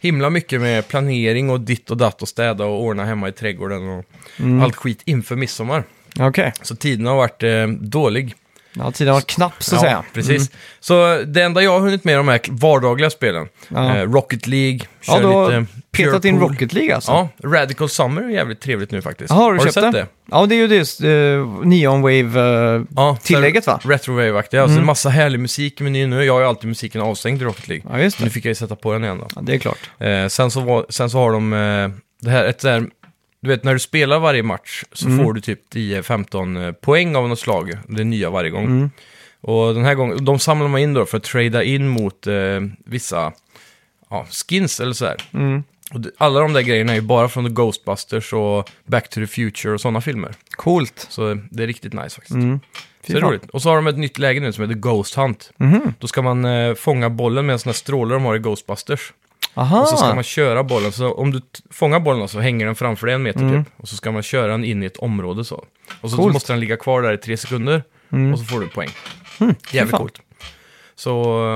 [SPEAKER 2] himla mycket med planering och ditt och datt och städa och ordna hemma i trädgården och
[SPEAKER 1] Mm.
[SPEAKER 2] allt skit inför midsommar.
[SPEAKER 1] Okej,
[SPEAKER 2] Så tiden har varit eh, dålig.
[SPEAKER 1] ja, tiden var knapp så att
[SPEAKER 2] ja,
[SPEAKER 1] säga. Mm.
[SPEAKER 2] precis. Så det enda jag har hunnit med är de här vardagliga spelen.
[SPEAKER 1] Ja.
[SPEAKER 2] Eh, Rocket League,
[SPEAKER 1] Ja,
[SPEAKER 2] kör
[SPEAKER 1] du har
[SPEAKER 2] lite Pure
[SPEAKER 1] petat in
[SPEAKER 2] Pool.
[SPEAKER 1] Rocket League alltså?
[SPEAKER 2] Ja, Radical Summer är jävligt trevligt nu faktiskt.
[SPEAKER 1] Jaha, har du, köpt
[SPEAKER 2] sett det?
[SPEAKER 1] Ja, det är ju det eh, Neon eh, Wave-tillägget
[SPEAKER 2] Ja, så här
[SPEAKER 1] va? Mm.
[SPEAKER 2] Retrowave-aktiga. Alltså en massa härlig musik i menyn nu. Jag har ju alltid musiken avstängd i Rocket League.
[SPEAKER 1] Ja, just
[SPEAKER 2] Nu
[SPEAKER 1] det.
[SPEAKER 2] fick jag ju sätta på den igen då.
[SPEAKER 1] Ja, det är klart.
[SPEAKER 2] Eh, sen, så var, sen så har de eh, det här, ett där Du vet när du spelar varje match så
[SPEAKER 1] Mm.
[SPEAKER 2] får du typ 10-15 poäng av något slag. Det är nya varje gång.
[SPEAKER 1] Mm.
[SPEAKER 2] Och den här gången, de samlar man in då för att trada in mot eh, vissa ja, skins eller sådär.
[SPEAKER 1] Mm.
[SPEAKER 2] Och det- alla de där grejerna är ju bara från The Ghostbusters och Back to the Future och sådana filmer.
[SPEAKER 1] Coolt.
[SPEAKER 2] Så det är riktigt nice faktiskt.
[SPEAKER 1] Mm.
[SPEAKER 2] Så det är
[SPEAKER 1] fan.
[SPEAKER 2] roligt. Och så har de ett nytt läge nu som heter Ghost Hunt.
[SPEAKER 1] Mhm.
[SPEAKER 2] Då ska man eh, fånga bollen med en sån här stråle de har i Ghostbusters.
[SPEAKER 1] Aha.
[SPEAKER 2] Och så ska man köra bollen, så om du t- fångar bollen så hänger den framför dig en meter
[SPEAKER 1] Mm.
[SPEAKER 2] typ. Och så ska man köra den in i ett område så. Och så
[SPEAKER 1] Coolt. Mm.
[SPEAKER 2] måste den ligga kvar där i tre sekunder och så får du poäng. Jävligt
[SPEAKER 1] Hm, fan.
[SPEAKER 2] coolt. Så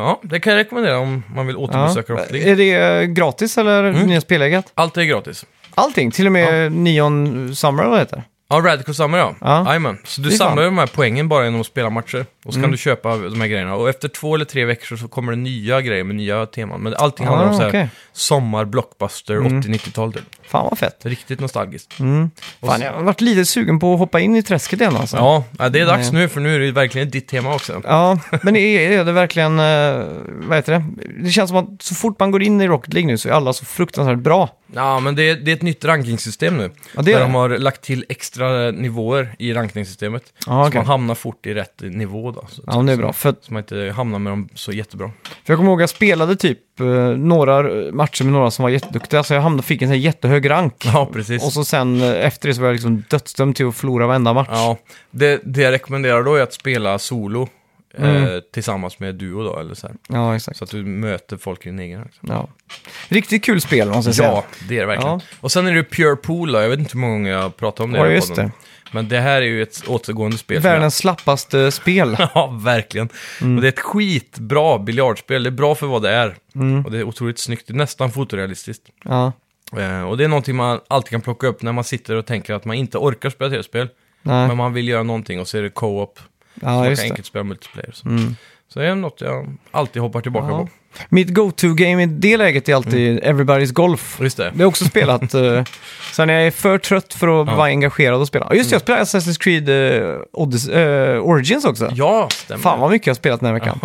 [SPEAKER 2] ja, det kan jag rekommendera om man vill återbesöka
[SPEAKER 1] ja.
[SPEAKER 2] dem. Det-
[SPEAKER 1] Är det eh, gratis eller
[SPEAKER 2] Mm.
[SPEAKER 1] nya spelläget?
[SPEAKER 2] Allt är gratis.
[SPEAKER 1] Allting, till och med Neon Summer vad det heter
[SPEAKER 2] Ja, Radical Summer ja.
[SPEAKER 1] Ja.
[SPEAKER 2] Jajamän. Så du
[SPEAKER 1] Fy fan. Mm.
[SPEAKER 2] samlar ju de här poängen bara genom att spela matcher. Och så kan du köpa de här grejerna. Och efter två eller tre veckor så kommer det nya grejer med nya teman. Men allting handlar om
[SPEAKER 1] Ah,
[SPEAKER 2] så här
[SPEAKER 1] okej. Mm.
[SPEAKER 2] sommar, blockbuster, 80-90-tal typ.
[SPEAKER 1] Fan vad fett.
[SPEAKER 2] Riktigt nostalgiskt. Och
[SPEAKER 1] Fan,
[SPEAKER 2] så-
[SPEAKER 1] jag har varit lite sugen på att hoppa in i träsket igen alltså.
[SPEAKER 2] Ja, ja, det är dags nu för nu är det ju verkligen ditt tema också.
[SPEAKER 1] Ja, men är, är det verkligen, eh, vad heter det? Det känns som att så fort man går in i Rocket League nu så är alla så fruktansvärt bra.
[SPEAKER 2] Ja, men det är, det är ett nytt rankingsystem nu.
[SPEAKER 1] Ja, det är
[SPEAKER 2] där
[SPEAKER 1] det.
[SPEAKER 2] de har lagt till extra nivåer i rankningssystemet.
[SPEAKER 1] Ja,
[SPEAKER 2] Så
[SPEAKER 1] okej.
[SPEAKER 2] man hamnar fort i rätt nivå då. Så,
[SPEAKER 1] Ja, men det är bra. För, att-
[SPEAKER 2] så man inte hamnar med dem så jättebra.
[SPEAKER 1] för jag kommer ihåg att jag spelade typ eh, några matcher med några som var jätteduktiga, så jag hamnade, fick en sån här jättehög rank.
[SPEAKER 2] Ja, precis.
[SPEAKER 1] Och så sen eh, efter det så var jag liksom dödsdömd till att förlora varenda match.
[SPEAKER 2] Ja, det, det jag rekommenderar då är att spela solo eh,
[SPEAKER 1] Mm.
[SPEAKER 2] tillsammans med duo då, eller så, här.
[SPEAKER 1] Ja, exakt.
[SPEAKER 2] så att du möter folk i din egen rank.
[SPEAKER 1] Ja. Riktigt kul spel, måste jag säga.
[SPEAKER 2] Ja, det är det verkligen.
[SPEAKER 1] Ja.
[SPEAKER 2] Och sen är det ju Pure Pool då, jag vet inte hur många gånger jag har pratat om det
[SPEAKER 1] Ja,
[SPEAKER 2] här i
[SPEAKER 1] just
[SPEAKER 2] podden.
[SPEAKER 1] det.
[SPEAKER 2] Men det här är ju ett återgående spel. som jag-
[SPEAKER 1] Världens slappaste spel.
[SPEAKER 2] Ja, verkligen.
[SPEAKER 1] Mm.
[SPEAKER 2] Och det är ett skitbra biljardspel, det är bra för vad det är.
[SPEAKER 1] Mm.
[SPEAKER 2] Och det är otroligt snyggt, det är nästan fotorealistiskt.
[SPEAKER 1] Ja,
[SPEAKER 2] Eh, och det är någonting man alltid kan plocka upp när man sitter och tänker att man inte orkar spela tv-spel.
[SPEAKER 1] Nej.
[SPEAKER 2] Men man vill göra någonting och så är det co-op.
[SPEAKER 1] ja
[SPEAKER 2] man
[SPEAKER 1] just det.
[SPEAKER 2] kan
[SPEAKER 1] Mm.
[SPEAKER 2] enkelt spela multiplayer. och Så. så det är något jag alltid hoppar tillbaka
[SPEAKER 1] Ja.
[SPEAKER 2] på.
[SPEAKER 1] Mitt go-to-game i det läget är alltid Everybody's Golf.
[SPEAKER 2] Mm. Just det.
[SPEAKER 1] Det har jag också spelat. eh, sen när jag är för trött för att
[SPEAKER 2] Ja. Mm.
[SPEAKER 1] vara engagerad och spela. Ja, Just det, jag spelade Assassin's Creed eh, Odyssey, eh, Origins också.
[SPEAKER 2] Ja, stämmer.
[SPEAKER 1] Fan vad mycket jag har spelat den här veckan.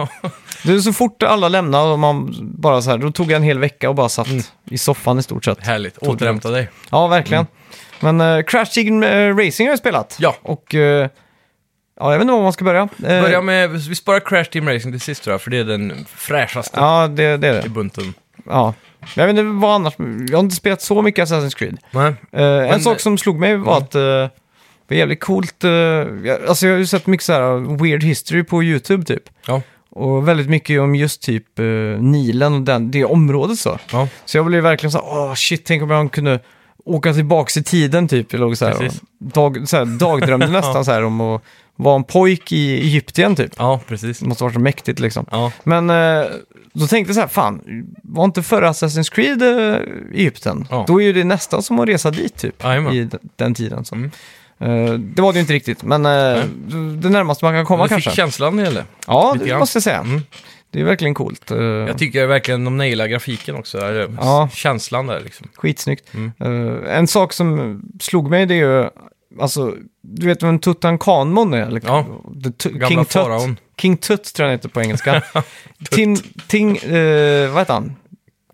[SPEAKER 1] Det är så fort alla lämnade och man bara så här, då tog jag en hel vecka och bara satt
[SPEAKER 2] Mm.
[SPEAKER 1] i soffan i stort sett.
[SPEAKER 2] Härligt, återhämta dig.
[SPEAKER 1] Ja, verkligen. Men eh, Crash Team eh, Racing har jag spelat.
[SPEAKER 2] Mm. Ja.
[SPEAKER 1] Och eh, ja, jag vet inte var man ska börja. Eh,
[SPEAKER 2] Börja med, vi sparar Crash Team Racing till sist tror jag, för det är den fräschaste
[SPEAKER 1] Ja, det, det är
[SPEAKER 2] i
[SPEAKER 1] det.
[SPEAKER 2] bunten.
[SPEAKER 1] Ja. Jag vet inte vad annars, jag har inte spelat så mycket Assassin's Creed.
[SPEAKER 2] Nej.
[SPEAKER 1] Eh, en sak som slog mig
[SPEAKER 2] Mm.
[SPEAKER 1] var att eh, det var jävligt coolt. eh, jag, alltså jag har ju sett mycket så här eh, weird history på YouTube typ.
[SPEAKER 2] Ja,
[SPEAKER 1] Och väldigt mycket om just typ eh, Nilen och den, det området så.
[SPEAKER 2] ja.
[SPEAKER 1] Så jag blev verkligen så här, åh shit, tänk om jag kunde åka tillbaks i tiden typ. Jag låg så här, och
[SPEAKER 2] Precis.
[SPEAKER 1] dag, så här dagdrömde nästan så här om att vara en pojk i Egypten typ.
[SPEAKER 2] ja precis.
[SPEAKER 1] Det måste vara så mäktigt liksom.
[SPEAKER 2] Ja.
[SPEAKER 1] Men eh, då tänkte jag så här, fan, var inte förra Assassin's Creed eh, Egypten?
[SPEAKER 2] Ja.
[SPEAKER 1] Då är ju det nästan som att resa dit typ,
[SPEAKER 2] Jajamän.
[SPEAKER 1] i d- den tiden. Så.
[SPEAKER 2] Mm.
[SPEAKER 1] Eh, det var det ju inte riktigt, men eh, det närmaste man kan komma
[SPEAKER 2] Du
[SPEAKER 1] kanske.
[SPEAKER 2] fick känslan när det gäller.
[SPEAKER 1] ja,
[SPEAKER 2] lite
[SPEAKER 1] det
[SPEAKER 2] grann.
[SPEAKER 1] måste jag säga.
[SPEAKER 2] Mm.
[SPEAKER 1] Det är verkligen coolt. Eh,
[SPEAKER 2] Jag tycker verkligen de nailar grafiken också, där.
[SPEAKER 1] Ja.
[SPEAKER 2] känslan där liksom.
[SPEAKER 1] Skitsnyggt. Eh, en sak som slog mig det är ju, alltså, du vet vem Tutankhamon är? Eller,
[SPEAKER 2] Ja.
[SPEAKER 1] The Tu-
[SPEAKER 2] Gamla
[SPEAKER 1] King Tut.
[SPEAKER 2] faraon.
[SPEAKER 1] King Tut tror jag han heter på engelska. Tim, ting, eh, vad heter han?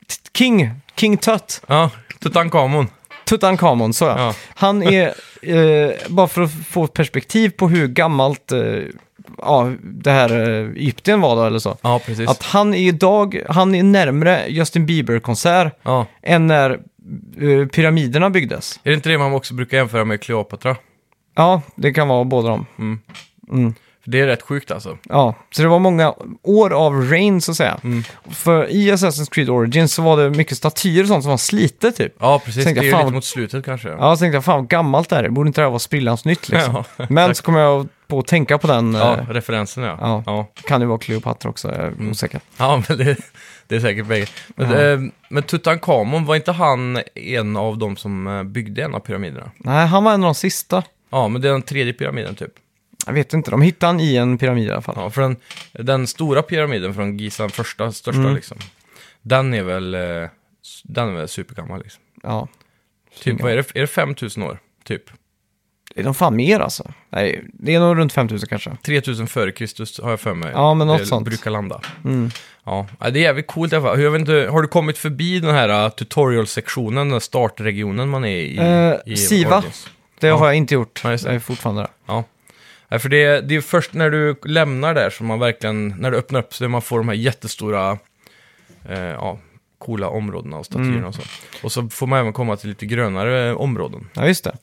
[SPEAKER 1] T- King, King Tut.
[SPEAKER 2] Ja, Tutankhamon.
[SPEAKER 1] Tutankhamon, så ja.
[SPEAKER 2] Ja.
[SPEAKER 1] Han är, eh, bara för att få ett perspektiv på hur gammalt eh, ja, det här eh, Egypten var då eller så.
[SPEAKER 2] Ja, precis.
[SPEAKER 1] Att han är idag, han är närmre Justin Bieber-konsert
[SPEAKER 2] Ja.
[SPEAKER 1] än när eh, pyramiderna byggdes.
[SPEAKER 2] Är det inte det man också brukar jämföra med Kleopatra?
[SPEAKER 1] Ja, det kan vara båda dem.
[SPEAKER 2] Mm.
[SPEAKER 1] Mm.
[SPEAKER 2] För det är rätt sjukt alltså.
[SPEAKER 1] Ja, så det var många år av rain så att säga.
[SPEAKER 2] Mm.
[SPEAKER 1] För i Assassin's Creed Origins så var det mycket statyer och sånt som var slitet typ.
[SPEAKER 2] Ja, precis.
[SPEAKER 1] Tänkte
[SPEAKER 2] det
[SPEAKER 1] jag,
[SPEAKER 2] är ju
[SPEAKER 1] fan,
[SPEAKER 2] lite
[SPEAKER 1] vad-
[SPEAKER 2] mot slutet kanske. Ja,
[SPEAKER 1] Ja, så tänkte jag, fan vad gammalt det här är. Borde inte det här vara sprillans nytt liksom?
[SPEAKER 2] Ja,
[SPEAKER 1] Men så kom jag på att tänka på den. eh,
[SPEAKER 2] referensen ja. Mm.
[SPEAKER 1] Ja.
[SPEAKER 2] Ja, ja.
[SPEAKER 1] Kan det vara Cleopatra också, jag är osäker.
[SPEAKER 2] men det, det är säkert bägge. Men, eh, men Tutankhamon, var inte han en av de som eh, byggde en av pyramiderna?
[SPEAKER 1] Nej, han var en av de sista.
[SPEAKER 2] Ja, men det är den tredje pyramiden typ.
[SPEAKER 1] Jag vet inte, de hittade han i en pyramid i alla fall.
[SPEAKER 2] Ja, för den, den stora pyramiden från Giza, den första, största
[SPEAKER 1] Mm.
[SPEAKER 2] liksom. Den är väl, eh, s- den är väl supergammal liksom.
[SPEAKER 1] Ja.
[SPEAKER 2] Typ, vad är det, är det 5000 år? Typ.
[SPEAKER 1] Är de fan mer alltså? Nej, det är nog runt 5000 kanske.
[SPEAKER 2] 3000 före Kristus har jag för mig.
[SPEAKER 1] Ja, men något
[SPEAKER 2] det
[SPEAKER 1] sånt. Mm.
[SPEAKER 2] brukar landa. Ja, Ja, det är jävligt coolt i alla fall. Jag vet inte, har du kommit förbi den här uh, tutorial-sektionen, den här startregionen man är i?
[SPEAKER 1] Eh,
[SPEAKER 2] i
[SPEAKER 1] Siva.
[SPEAKER 2] Origins?
[SPEAKER 1] Det
[SPEAKER 2] Ja.
[SPEAKER 1] har jag inte gjort.
[SPEAKER 2] Ja, just det.
[SPEAKER 1] jag är fortfarande där.
[SPEAKER 2] Ja. Nej, för det, det är först när du lämnar där som man verkligen, när du öppnar upp så man får de här jättestora, eh, ja, coola områdena och statyerna och så. Och så får man även komma till lite grönare eh, områden.
[SPEAKER 1] Ja, just det.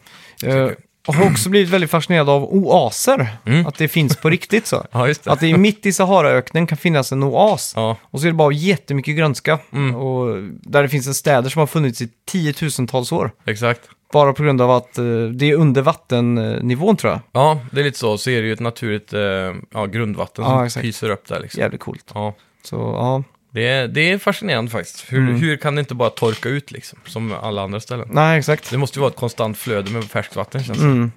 [SPEAKER 1] Jag har också blivit väldigt fascinerad av oaser. Att det finns på riktigt så.
[SPEAKER 2] Mm. Ja, just det.
[SPEAKER 1] Att det i mitt i Saharaöknen kan finnas en oas.
[SPEAKER 2] Ja, Mm.
[SPEAKER 1] Och så är det bara jättemycket grönska. Och där det finns en städer som har funnits i tiotusentals år.
[SPEAKER 2] exakt.
[SPEAKER 1] Bara på grund av att eh, det är under vattennivån tror jag.
[SPEAKER 2] Ja, det är lite så. Så är det ju ett naturligt eh, ja, grundvatten
[SPEAKER 1] Ja,
[SPEAKER 2] som
[SPEAKER 1] exakt.
[SPEAKER 2] pyser upp där liksom.
[SPEAKER 1] Jävligt coolt.
[SPEAKER 2] Ja.
[SPEAKER 1] Så ja,
[SPEAKER 2] Det, är, det är fascinerande faktiskt. Hur, hur kan det inte bara torka ut liksom, som alla andra ställen?
[SPEAKER 1] nej exakt.
[SPEAKER 2] Det måste ju vara ett konstant flöde med färskt vatten känns det
[SPEAKER 1] Mm.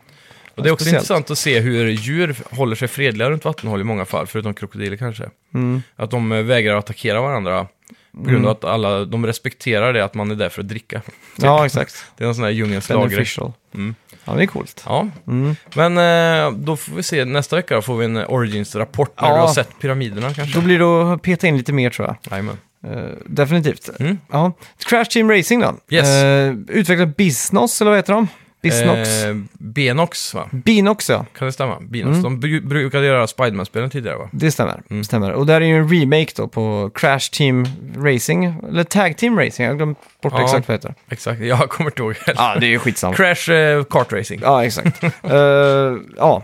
[SPEAKER 2] Och det är också
[SPEAKER 1] Speciellt.
[SPEAKER 2] intressant att se hur djur håller sig fredliga runt vattenhål i många fall, förutom krokodiler kanske.
[SPEAKER 1] Mm.
[SPEAKER 2] Att de eh, vägrar attackera varandra på grund av att alla, de respekterar det att man är där för att dricka.
[SPEAKER 1] Ja, exakt.
[SPEAKER 2] Det är en sån här djungelns lagregel.
[SPEAKER 1] Beneficial.
[SPEAKER 2] Typ. Mm.
[SPEAKER 1] Ja, det är coolt.
[SPEAKER 2] Ja,
[SPEAKER 1] Mm.
[SPEAKER 2] men eh, då får vi se nästa vecka, då får vi en eh, Origins-rapport när
[SPEAKER 1] Ja.
[SPEAKER 2] du har sett pyramiderna kanske.
[SPEAKER 1] Då blir det att peta in lite mer tror jag.
[SPEAKER 2] Jajamän.
[SPEAKER 1] Eh, definitivt.
[SPEAKER 2] Mm.
[SPEAKER 1] Ja. Crash Team Racing då.
[SPEAKER 2] Yes.
[SPEAKER 1] Eh, utvecklar Bisnos, eller vad heter de? Bisnox?
[SPEAKER 2] Eh, Benox, va?
[SPEAKER 1] Binox ja,
[SPEAKER 2] Kan det stämma? Binox.
[SPEAKER 1] Mm.
[SPEAKER 2] De bru- brukade göra Spiderman-spelen tidigare, va?
[SPEAKER 1] det stämmer. stämmer. Och där är ju en remake då på Crash Team Racing, eller Tag Team Racing, jag har glömt bort
[SPEAKER 2] Ja.
[SPEAKER 1] exakt vad det heter.
[SPEAKER 2] Exakt, jag kommer inte ihåg heller.
[SPEAKER 1] Ja, det är ju skitsamma.
[SPEAKER 2] Crash eh, Kart Racing.
[SPEAKER 1] Ja, exakt. Eh, ja.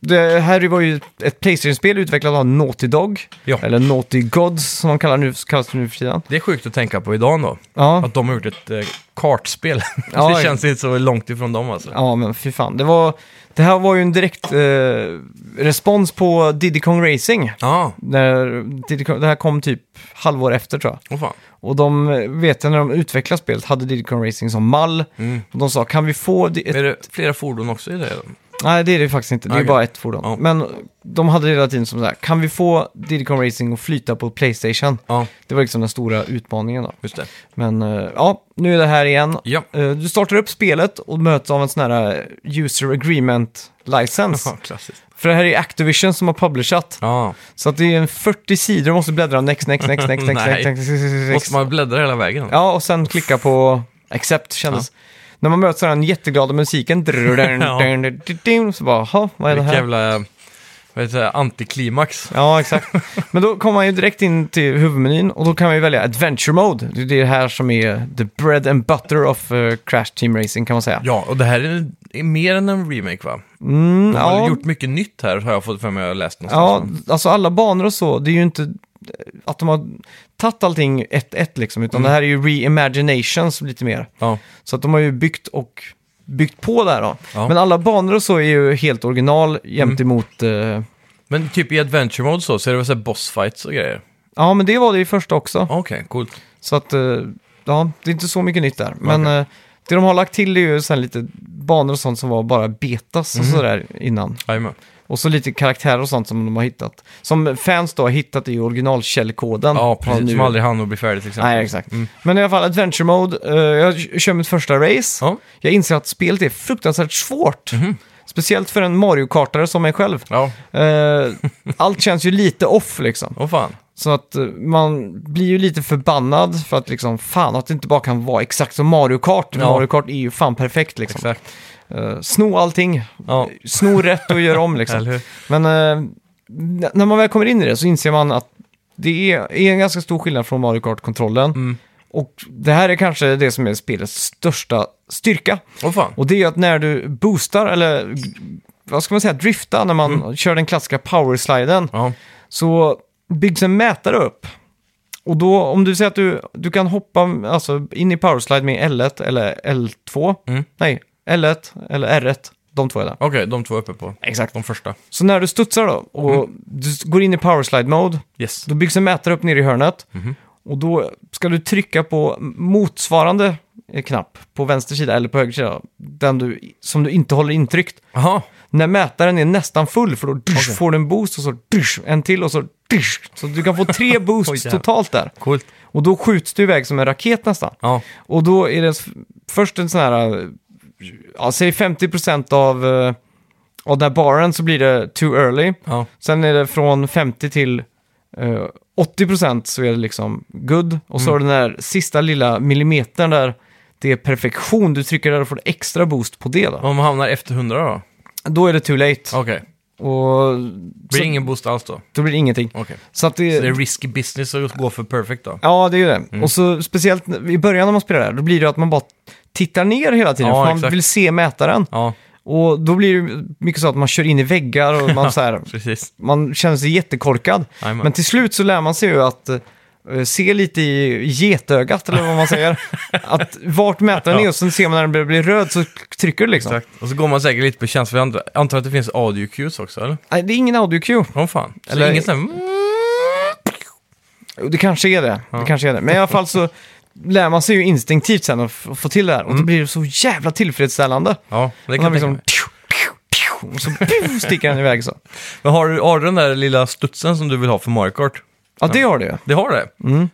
[SPEAKER 1] Det här var ju ett Playstation-spel utvecklat av Naughty Dog,
[SPEAKER 2] Ja.
[SPEAKER 1] eller Naughty Gods som de kallar nu, kallas nu för tiden.
[SPEAKER 2] Det är sjukt att tänka på idag då.
[SPEAKER 1] Ja.
[SPEAKER 2] Att de har gjort ett eh, kartspel.
[SPEAKER 1] Ja,
[SPEAKER 2] det
[SPEAKER 1] ja.
[SPEAKER 2] känns inte så långt ifrån dem alltså.
[SPEAKER 1] ja, men fy fan. Det, var, det här var ju en direkt eh, respons på Diddy Kong Racing.
[SPEAKER 2] Ja,
[SPEAKER 1] När Diddy Kong, det här kom typ halvår efter tror jag.
[SPEAKER 2] åh fan.
[SPEAKER 1] Och de eh, vet jag när de utvecklade spelet hade Diddy Kong Racing som mall.
[SPEAKER 2] Mm.
[SPEAKER 1] Och de sa, kan vi få... di- Ett...
[SPEAKER 2] Är det flera fordon också i det?
[SPEAKER 1] Nej, det är det faktiskt inte. Det är
[SPEAKER 2] Okej.
[SPEAKER 1] bara ett fordon.
[SPEAKER 2] Ja.
[SPEAKER 1] Men de hade hela tiden som så här, kan vi få Diddy Kong Racing att flyta på Playstation?
[SPEAKER 2] Ja,
[SPEAKER 1] Det var liksom den stora utmaningen då.
[SPEAKER 2] just det.
[SPEAKER 1] Men eh, ja, nu är det här igen.
[SPEAKER 2] Ja,
[SPEAKER 1] Eh, Du startar upp spelet och möts av en sån här eh, user agreement license.
[SPEAKER 2] ja klassiskt.
[SPEAKER 1] För det här är Activision som har publishat.
[SPEAKER 2] Ja.
[SPEAKER 1] Så att det är en 40 sidor du måste bläddra next, next, next, next, next, next,
[SPEAKER 2] Nej.
[SPEAKER 1] next, next, next, next.
[SPEAKER 2] Måste man bläddra hela vägen?
[SPEAKER 1] Ja, och sen klicka på accept kändes. När man möts av den jätteglada musiken, drrrr, drrrr,
[SPEAKER 2] Ja.
[SPEAKER 1] drrrr, drrr, drrr, så bara, "Ha, vad är det
[SPEAKER 2] Vilket
[SPEAKER 1] här?
[SPEAKER 2] jävla vad heter det, antiklimax.
[SPEAKER 1] Ja, exakt. Men då kommer man ju direkt in till huvudmenyn och då kan man ju välja Adventure Mode. Det är det här som är the bread and butter of eh, Crash Team Racing kan man säga.
[SPEAKER 2] Ja, och det här är, är mer än en remake va?
[SPEAKER 1] Mm,
[SPEAKER 2] De har
[SPEAKER 1] ja,
[SPEAKER 2] gjort mycket nytt här har jag fått för mig att jag har läst någonstans.
[SPEAKER 1] ja, alltså alla banor och så, det är ju inte att de har tagit allting ett, ett liksom, utan
[SPEAKER 2] Mm.
[SPEAKER 1] det här är ju reimaginations lite mer.
[SPEAKER 2] Ja.
[SPEAKER 1] Så att de har ju byggt och byggt på där då.
[SPEAKER 2] Ja. Mm.
[SPEAKER 1] Men alla banor och så är ju helt original jämt emot... eh,
[SPEAKER 2] Men typ i Adventure Mode så, så är det väl så här bossfights och grejer?
[SPEAKER 1] ja, men det var det i första också.
[SPEAKER 2] Okej, coolt.
[SPEAKER 1] Så att, eh, ja, det är inte så mycket nytt där. Men
[SPEAKER 2] Okej.
[SPEAKER 1] eh, det de har lagt till är ju sen lite banor och sånt som var bara betas och
[SPEAKER 2] Mm.
[SPEAKER 1] sådär innan.
[SPEAKER 2] Jajamän.
[SPEAKER 1] Och så lite karaktärer och sånt som de har hittat. Som fans då har hittat i originalkällkoden.
[SPEAKER 2] Ja,
[SPEAKER 1] Har
[SPEAKER 2] precis.
[SPEAKER 1] nu-
[SPEAKER 2] Som aldrig hann att bli färdig till exempel.
[SPEAKER 1] Nej, exakt. Men i alla fall, Adventure Mode. eh, jag k- kör mitt första race.
[SPEAKER 2] Ja. Mhm.
[SPEAKER 1] Jag inser att spelet är fruktansvärt svårt. Speciellt för en Mario-kartare som mig själv.
[SPEAKER 2] Ja,
[SPEAKER 1] Eh, allt känns ju lite off liksom.
[SPEAKER 2] åh fan.
[SPEAKER 1] Så att eh, man blir ju lite förbannad för att liksom, fan att det inte bara kan vara exakt som Mario Kart.
[SPEAKER 2] Ja.
[SPEAKER 1] Mario Kart är ju fan perfekt liksom.
[SPEAKER 2] Exakt.
[SPEAKER 1] Eh, sno allting,
[SPEAKER 2] Ja,
[SPEAKER 1] sno rätt och gör om
[SPEAKER 2] eller
[SPEAKER 1] liksom.
[SPEAKER 2] hur?
[SPEAKER 1] Men eh, n- när man väl kommer in i det så inser man att det är, är en ganska stor skillnad från Mario Kart-kontrollen. Och det här är kanske det som är spelets största styrka.
[SPEAKER 2] Åh fan.
[SPEAKER 1] Och det är ju att när du boostar, eller vad ska man säga, driftar när man kör den klassiska powersliden,
[SPEAKER 2] Ja.
[SPEAKER 1] så byggs en mätare upp. Och då, om du säger att du, du kan hoppa alltså, in i powerslide med L1 eller L2,
[SPEAKER 2] Mm.
[SPEAKER 1] nej, L1 eller R1, de två är där.
[SPEAKER 2] Okej, de två är uppe på.
[SPEAKER 1] Exakt.
[SPEAKER 2] De första.
[SPEAKER 1] Så när du studsar då och
[SPEAKER 2] Mm.
[SPEAKER 1] du s- går in i powerslide-mode,
[SPEAKER 2] Yes.
[SPEAKER 1] då byggs en mätare upp nere i hörnet.
[SPEAKER 2] Mm-hmm.
[SPEAKER 1] Och då ska du trycka på motsvarande eh, knapp på vänster sida eller på höger sida, den du, som du inte håller intryckt.
[SPEAKER 2] Jaha,
[SPEAKER 1] När mätaren är nästan full, för då dusch, får du en boost och så dusch, en till och så dusch. Så du kan få tre
[SPEAKER 2] Oj,
[SPEAKER 1] boosts
[SPEAKER 2] jävlar.
[SPEAKER 1] totalt där.
[SPEAKER 2] coolt.
[SPEAKER 1] Och då skjuts du iväg som en raket nästan.
[SPEAKER 2] Ja,
[SPEAKER 1] Och då är det s- först en sån här eh, ja, säg 50% av, eh, av den här baren så blir det too early.
[SPEAKER 2] Ja.
[SPEAKER 1] Sen är det från 50 till eh, 80% så är det liksom good. Och
[SPEAKER 2] Mm.
[SPEAKER 1] så har du den där sista lilla millimetern där det är perfektion. Du trycker där och får extra boost på det då.
[SPEAKER 2] Om man hamnar efter 100 då?
[SPEAKER 1] Då är det too late.
[SPEAKER 2] Okej.
[SPEAKER 1] Och
[SPEAKER 2] Blir
[SPEAKER 1] så,
[SPEAKER 2] ingen boost alls då?
[SPEAKER 1] då blir det ingenting.
[SPEAKER 2] Okej.
[SPEAKER 1] Så att
[SPEAKER 2] Så det är Mm. risky business att gå för perfect då?
[SPEAKER 1] Ja, det är ju det. Och så speciellt i början när man spelar där, då blir det att man bara tittar ner hela tiden.
[SPEAKER 2] Ja,
[SPEAKER 1] för man
[SPEAKER 2] exakt.
[SPEAKER 1] vill se mätaren.
[SPEAKER 2] Ja,
[SPEAKER 1] Och då blir det mycket så att man kör in i väggar och man, så här,
[SPEAKER 2] precis.
[SPEAKER 1] man känner sig jättekorkad.
[SPEAKER 2] Jajamän.
[SPEAKER 1] Men till slut så lär man sig ju att eh, se lite i getögat, eller vad man säger. att vart mätaren är och sen ser man när den börjar bli röd så trycker du liksom.
[SPEAKER 2] Exakt. Och så går man säkert lite på känsla. Jag antar- antar att det finns audio cues också, eller?
[SPEAKER 1] Nej, det är ingen audio cue.
[SPEAKER 2] Åh fan. Så Mm.
[SPEAKER 1] Eller-
[SPEAKER 2] Eller... ingen sån här...
[SPEAKER 1] Jo, Det kanske är det. det kanske är det. Men i alla fall så lär man sig ju instinktivt sen att f- få till det här. Och då blir det så jävla tillfredsställande.
[SPEAKER 2] Ja, Mm. det
[SPEAKER 1] Den
[SPEAKER 2] kan
[SPEAKER 1] har
[SPEAKER 2] jag
[SPEAKER 1] liksom...
[SPEAKER 2] tänka mig.
[SPEAKER 1] Tju, tju, tju, och så pju, sticker den iväg så.
[SPEAKER 2] Men har du, har du den där lilla studsen som du vill ha för Mario Kart?
[SPEAKER 1] Ja, det har du ju.
[SPEAKER 2] Det har det?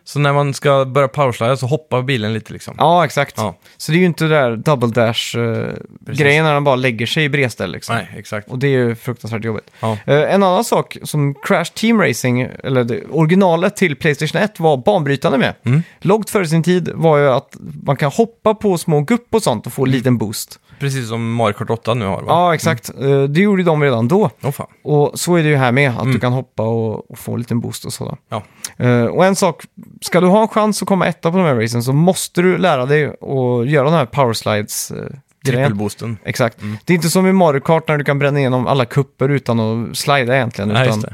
[SPEAKER 2] Så när man ska börja powerslida så hoppar bilen lite liksom?
[SPEAKER 1] Ja, exakt.
[SPEAKER 2] Mm. Ja.
[SPEAKER 1] Så det är ju inte det där double dash-grejen när den bara lägger sig i bredställ liksom.
[SPEAKER 2] Nej, exakt.
[SPEAKER 1] Och det är ju fruktansvärt jobbigt.
[SPEAKER 2] Ja.
[SPEAKER 1] Eh, en annan sak som Crash Team Racing, eller det, originalet till Playstation 1, var banbrytande med.
[SPEAKER 2] Mm.
[SPEAKER 1] Långt före sin tid var ju att man kan hoppa på små gupp och sånt och
[SPEAKER 2] Mm.
[SPEAKER 1] få en liten boost.
[SPEAKER 2] Precis som Mario Kart 8 nu har va?
[SPEAKER 1] Ja, exakt. Eh, det gjorde ju de redan då.
[SPEAKER 2] Åh fan.
[SPEAKER 1] Och så är det ju här med, att du kan hoppa och, och få en liten boost och sådär.
[SPEAKER 2] Mm. Ja.
[SPEAKER 1] Eh, och en sak, ska du ha en chans att komma etta på de här racen så måste du lära dig att göra de här powerslides uh, grejen.
[SPEAKER 2] Trippelboosten.
[SPEAKER 1] Exakt.
[SPEAKER 2] Mm.
[SPEAKER 1] Det är inte som i Mario Kart när du kan bränna igenom alla kupper utan att slida egentligen.
[SPEAKER 2] Nej,
[SPEAKER 1] utan,
[SPEAKER 2] just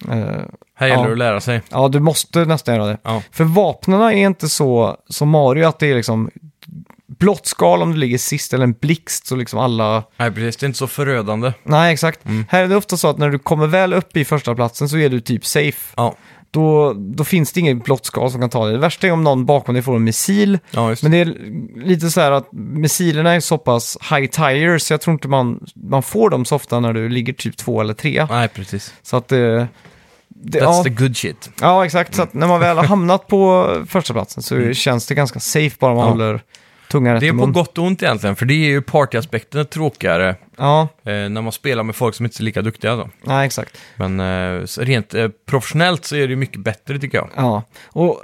[SPEAKER 2] det.
[SPEAKER 1] eh,
[SPEAKER 2] Här gäller
[SPEAKER 1] ja.
[SPEAKER 2] det att lära sig.
[SPEAKER 1] ja, du måste nästan göra det.
[SPEAKER 2] Ja.
[SPEAKER 1] För vapnen är inte så som Mario, att det är liksom blått skal om du ligger sist eller en blixt så liksom alla...
[SPEAKER 2] Nej, precis. Det är inte så förödande.
[SPEAKER 1] Nej, exakt.
[SPEAKER 2] Mm.
[SPEAKER 1] Här är det ofta så att när du kommer väl upp i första platsen så är du typ safe.
[SPEAKER 2] Ja,
[SPEAKER 1] då, då finns det inget blått skal som kan ta dig. Det värsta är om någon bakom dig får en missil.
[SPEAKER 2] ja just det.
[SPEAKER 1] Men det är lite så här att missilerna är så pass high tire så jag tror inte man, man får dem så ofta när du ligger typ två eller tre.
[SPEAKER 2] Nej, precis.
[SPEAKER 1] Så att det... det
[SPEAKER 2] That's
[SPEAKER 1] ja,
[SPEAKER 2] the good shit.
[SPEAKER 1] ja, exakt. Så att när man väl har hamnat på första platsen så känns det ganska safe bara man
[SPEAKER 2] Mm. Ja.
[SPEAKER 1] håller tungan rätt
[SPEAKER 2] Det
[SPEAKER 1] i
[SPEAKER 2] är på
[SPEAKER 1] mun.
[SPEAKER 2] gott och ont egentligen, för det är ju partyaspekten tråkigare eh,
[SPEAKER 1] Ja,
[SPEAKER 2] när man spelar med folk som inte är lika duktiga. Då.
[SPEAKER 1] nej, exakt.
[SPEAKER 2] Men eh, så rent eh, professionellt så är det ju mycket bättre tycker jag.
[SPEAKER 1] Ja, och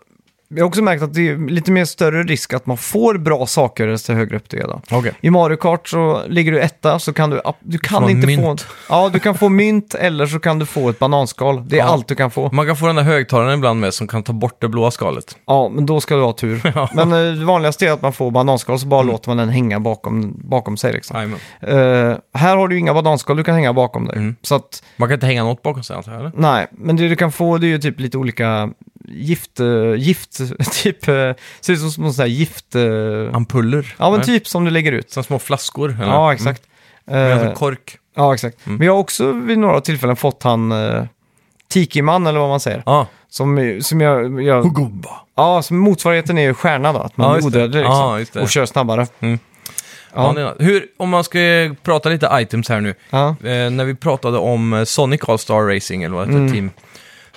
[SPEAKER 1] jag har också märkt att det är lite mer större risk att man får bra saker desto högre upp det är. Då.
[SPEAKER 2] Okej.
[SPEAKER 1] I Mario Kart så ligger du etta så kan du, ab- du kan
[SPEAKER 2] Från
[SPEAKER 1] inte
[SPEAKER 2] mynt.
[SPEAKER 1] få... Ja, du kan få mynt eller så kan du få ett bananskal. Det är
[SPEAKER 2] Ja.
[SPEAKER 1] allt du kan få.
[SPEAKER 2] Man kan få den där högtalaren ibland med som kan ta bort det blåa skalet.
[SPEAKER 1] Ja, men då ska du ha tur.
[SPEAKER 2] Ja. Mm.
[SPEAKER 1] Men eh, det vanligaste är att man får bananskal så bara låter man den hänga bakom, bakom sig. Liksom.
[SPEAKER 2] Jajamän.
[SPEAKER 1] Eh, här har du ju inga bananskal du kan hänga bakom dig.
[SPEAKER 2] Mm.
[SPEAKER 1] Så att,
[SPEAKER 2] Man kan inte hänga något bakom sig antar jag, eller?
[SPEAKER 1] nej. Men det du kan få det är ju typ lite olika gift... eh, gift typ, uh, ser ut som små sådana här gift... eh,
[SPEAKER 2] Ampuller?
[SPEAKER 1] ja, men
[SPEAKER 2] Nej.
[SPEAKER 1] typ som du lägger ut.
[SPEAKER 2] Som små flaskor? Eller?
[SPEAKER 1] Ja, exakt.
[SPEAKER 2] Mm.
[SPEAKER 1] Eh,
[SPEAKER 2] Med en kork?
[SPEAKER 1] Ja, exakt.
[SPEAKER 2] Mm.
[SPEAKER 1] Men jag har också vid några tillfällen fått han eh, Tikiman, eller vad man säger.
[SPEAKER 2] Ja.
[SPEAKER 1] Som, som jag... jag
[SPEAKER 2] Hugumba.
[SPEAKER 1] ja, som motsvarigheten är ju stjärna då. Att man
[SPEAKER 2] Ja,
[SPEAKER 1] är
[SPEAKER 2] just det.
[SPEAKER 1] odödlig liksom,
[SPEAKER 2] Ja, just det.
[SPEAKER 1] och kör snabbare.
[SPEAKER 2] Ja. det är- Hur, om man ska eh, prata lite items här nu.
[SPEAKER 1] Ja.
[SPEAKER 2] Eh, när vi pratade om eh, Sonic All-Star Racing, eller vad det hette,
[SPEAKER 1] Mm.
[SPEAKER 2] team.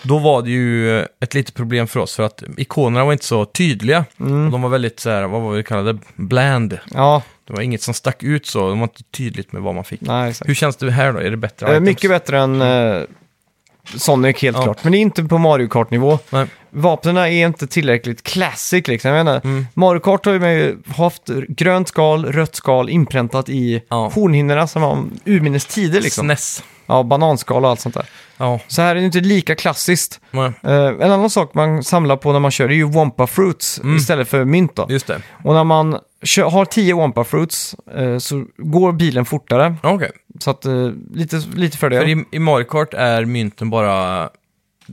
[SPEAKER 2] Då var det ju eh, ett litet problem för oss, för att ikonerna var inte så tydliga.
[SPEAKER 1] Mm.
[SPEAKER 2] Och de var väldigt så här, vad var det kallade, bland.
[SPEAKER 1] Ja,
[SPEAKER 2] Det var inget som stack ut så, de var inte tydligt med vad man fick.
[SPEAKER 1] nej exakt.
[SPEAKER 2] Hur känns det här då? Är det bättre
[SPEAKER 1] Eh,
[SPEAKER 2] items?
[SPEAKER 1] mycket bättre än eh, Sonic helt
[SPEAKER 2] Ja.
[SPEAKER 1] klart. Men det är inte på Mario Kart-nivå.
[SPEAKER 2] Nej.
[SPEAKER 1] Vapnen är inte tillräckligt classic liksom. Jag menar,
[SPEAKER 2] Mm.
[SPEAKER 1] Mario Kart har ju med- haft grönt skal, rött skal inpräntat i
[SPEAKER 2] Ja.
[SPEAKER 1] hornhinnorna som var om urminnes tider liksom.
[SPEAKER 2] SNES.
[SPEAKER 1] Ja, bananskal och allt sånt där.
[SPEAKER 2] Ja.
[SPEAKER 1] Så här är det inte lika klassiskt.
[SPEAKER 2] men-
[SPEAKER 1] Eh, en annan sak man samlar på när man kör är ju Wampa Fruits
[SPEAKER 2] Mm.
[SPEAKER 1] istället för mynt. Då.
[SPEAKER 2] Just det.
[SPEAKER 1] Och när man kö- har 10 Wampa Fruits eh, så går bilen fortare.
[SPEAKER 2] Okej.
[SPEAKER 1] Så att, eh, lite, lite fördel.
[SPEAKER 2] För i, i Mario Kart är mynten bara...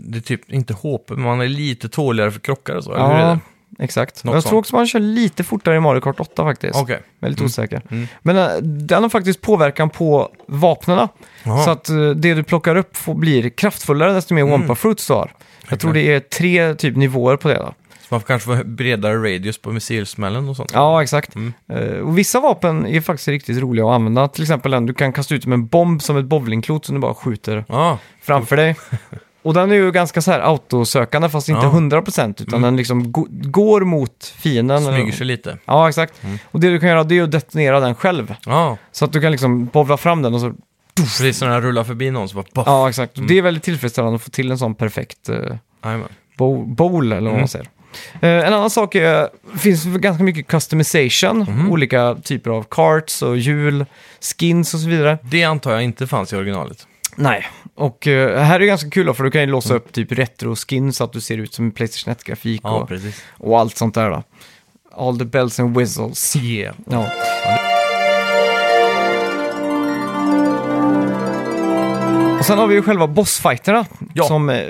[SPEAKER 2] Det är typ inte HP, men man är lite tåligare för krockar och så. eller hur är
[SPEAKER 1] ja,
[SPEAKER 2] det?
[SPEAKER 1] exakt.
[SPEAKER 2] Något
[SPEAKER 1] jag tror
[SPEAKER 2] sånt.
[SPEAKER 1] också man kör lite fortare i Mario Kart 8 faktiskt.
[SPEAKER 2] Okej.
[SPEAKER 1] Väldigt osäker.
[SPEAKER 2] Mm.
[SPEAKER 1] Men eh, den har faktiskt påverkan på vapnena.
[SPEAKER 2] Jaha.
[SPEAKER 1] Så att eh, det du plockar upp får, blir kraftfullare desto
[SPEAKER 2] Mm.
[SPEAKER 1] mer Wampa Fruits du har. Jag tror det är tre typ nivåer på det. Då.
[SPEAKER 2] Så man får kanske få bredare radius på missilsmällen och sånt.
[SPEAKER 1] Ja, exakt.
[SPEAKER 2] Mm.
[SPEAKER 1] Eh, och vissa vapen är faktiskt riktigt roliga att använda. Till exempel den du kan kasta ut med en bomb som ett bowlingklot som du bara skjuter
[SPEAKER 2] Ja,
[SPEAKER 1] framför dig. Och den är ju ganska så här autosökande fast inte
[SPEAKER 2] Ja. Mm.
[SPEAKER 1] 100% utan den liksom go- går mot fienden. eller-
[SPEAKER 2] Smyger sig Mm. lite.
[SPEAKER 1] Ja, exakt. Och det du kan göra det är att detonera den själv.
[SPEAKER 2] Ja,
[SPEAKER 1] Så att du kan liksom bovla fram den och så...
[SPEAKER 2] precis när den rullar förbi någon så bara poff.
[SPEAKER 1] Ja, exakt. Och Det är väldigt tillfredsställande att få till en sån perfekt eh,
[SPEAKER 2] Jajamän.
[SPEAKER 1] bo- bowl, eller vad
[SPEAKER 2] Mm.
[SPEAKER 1] man säger. Eh, en annan sak är, det finns ganska mycket customization. Olika typer av carts och hjul, skins och så vidare.
[SPEAKER 2] Det antar jag inte fanns i originalet.
[SPEAKER 1] Nej, och eh, här är det ganska kul då, för du kan ju låsa upp typ retro-skin så att du ser ut som en Playstation 1-grafik
[SPEAKER 2] Ja,
[SPEAKER 1] och,
[SPEAKER 2] precis.
[SPEAKER 1] och allt sånt där då. All the bells and whistles.
[SPEAKER 2] Yeah.
[SPEAKER 1] Ja. Och sen har vi ju själva bossfighterna.
[SPEAKER 2] Ja.
[SPEAKER 1] Som, eh,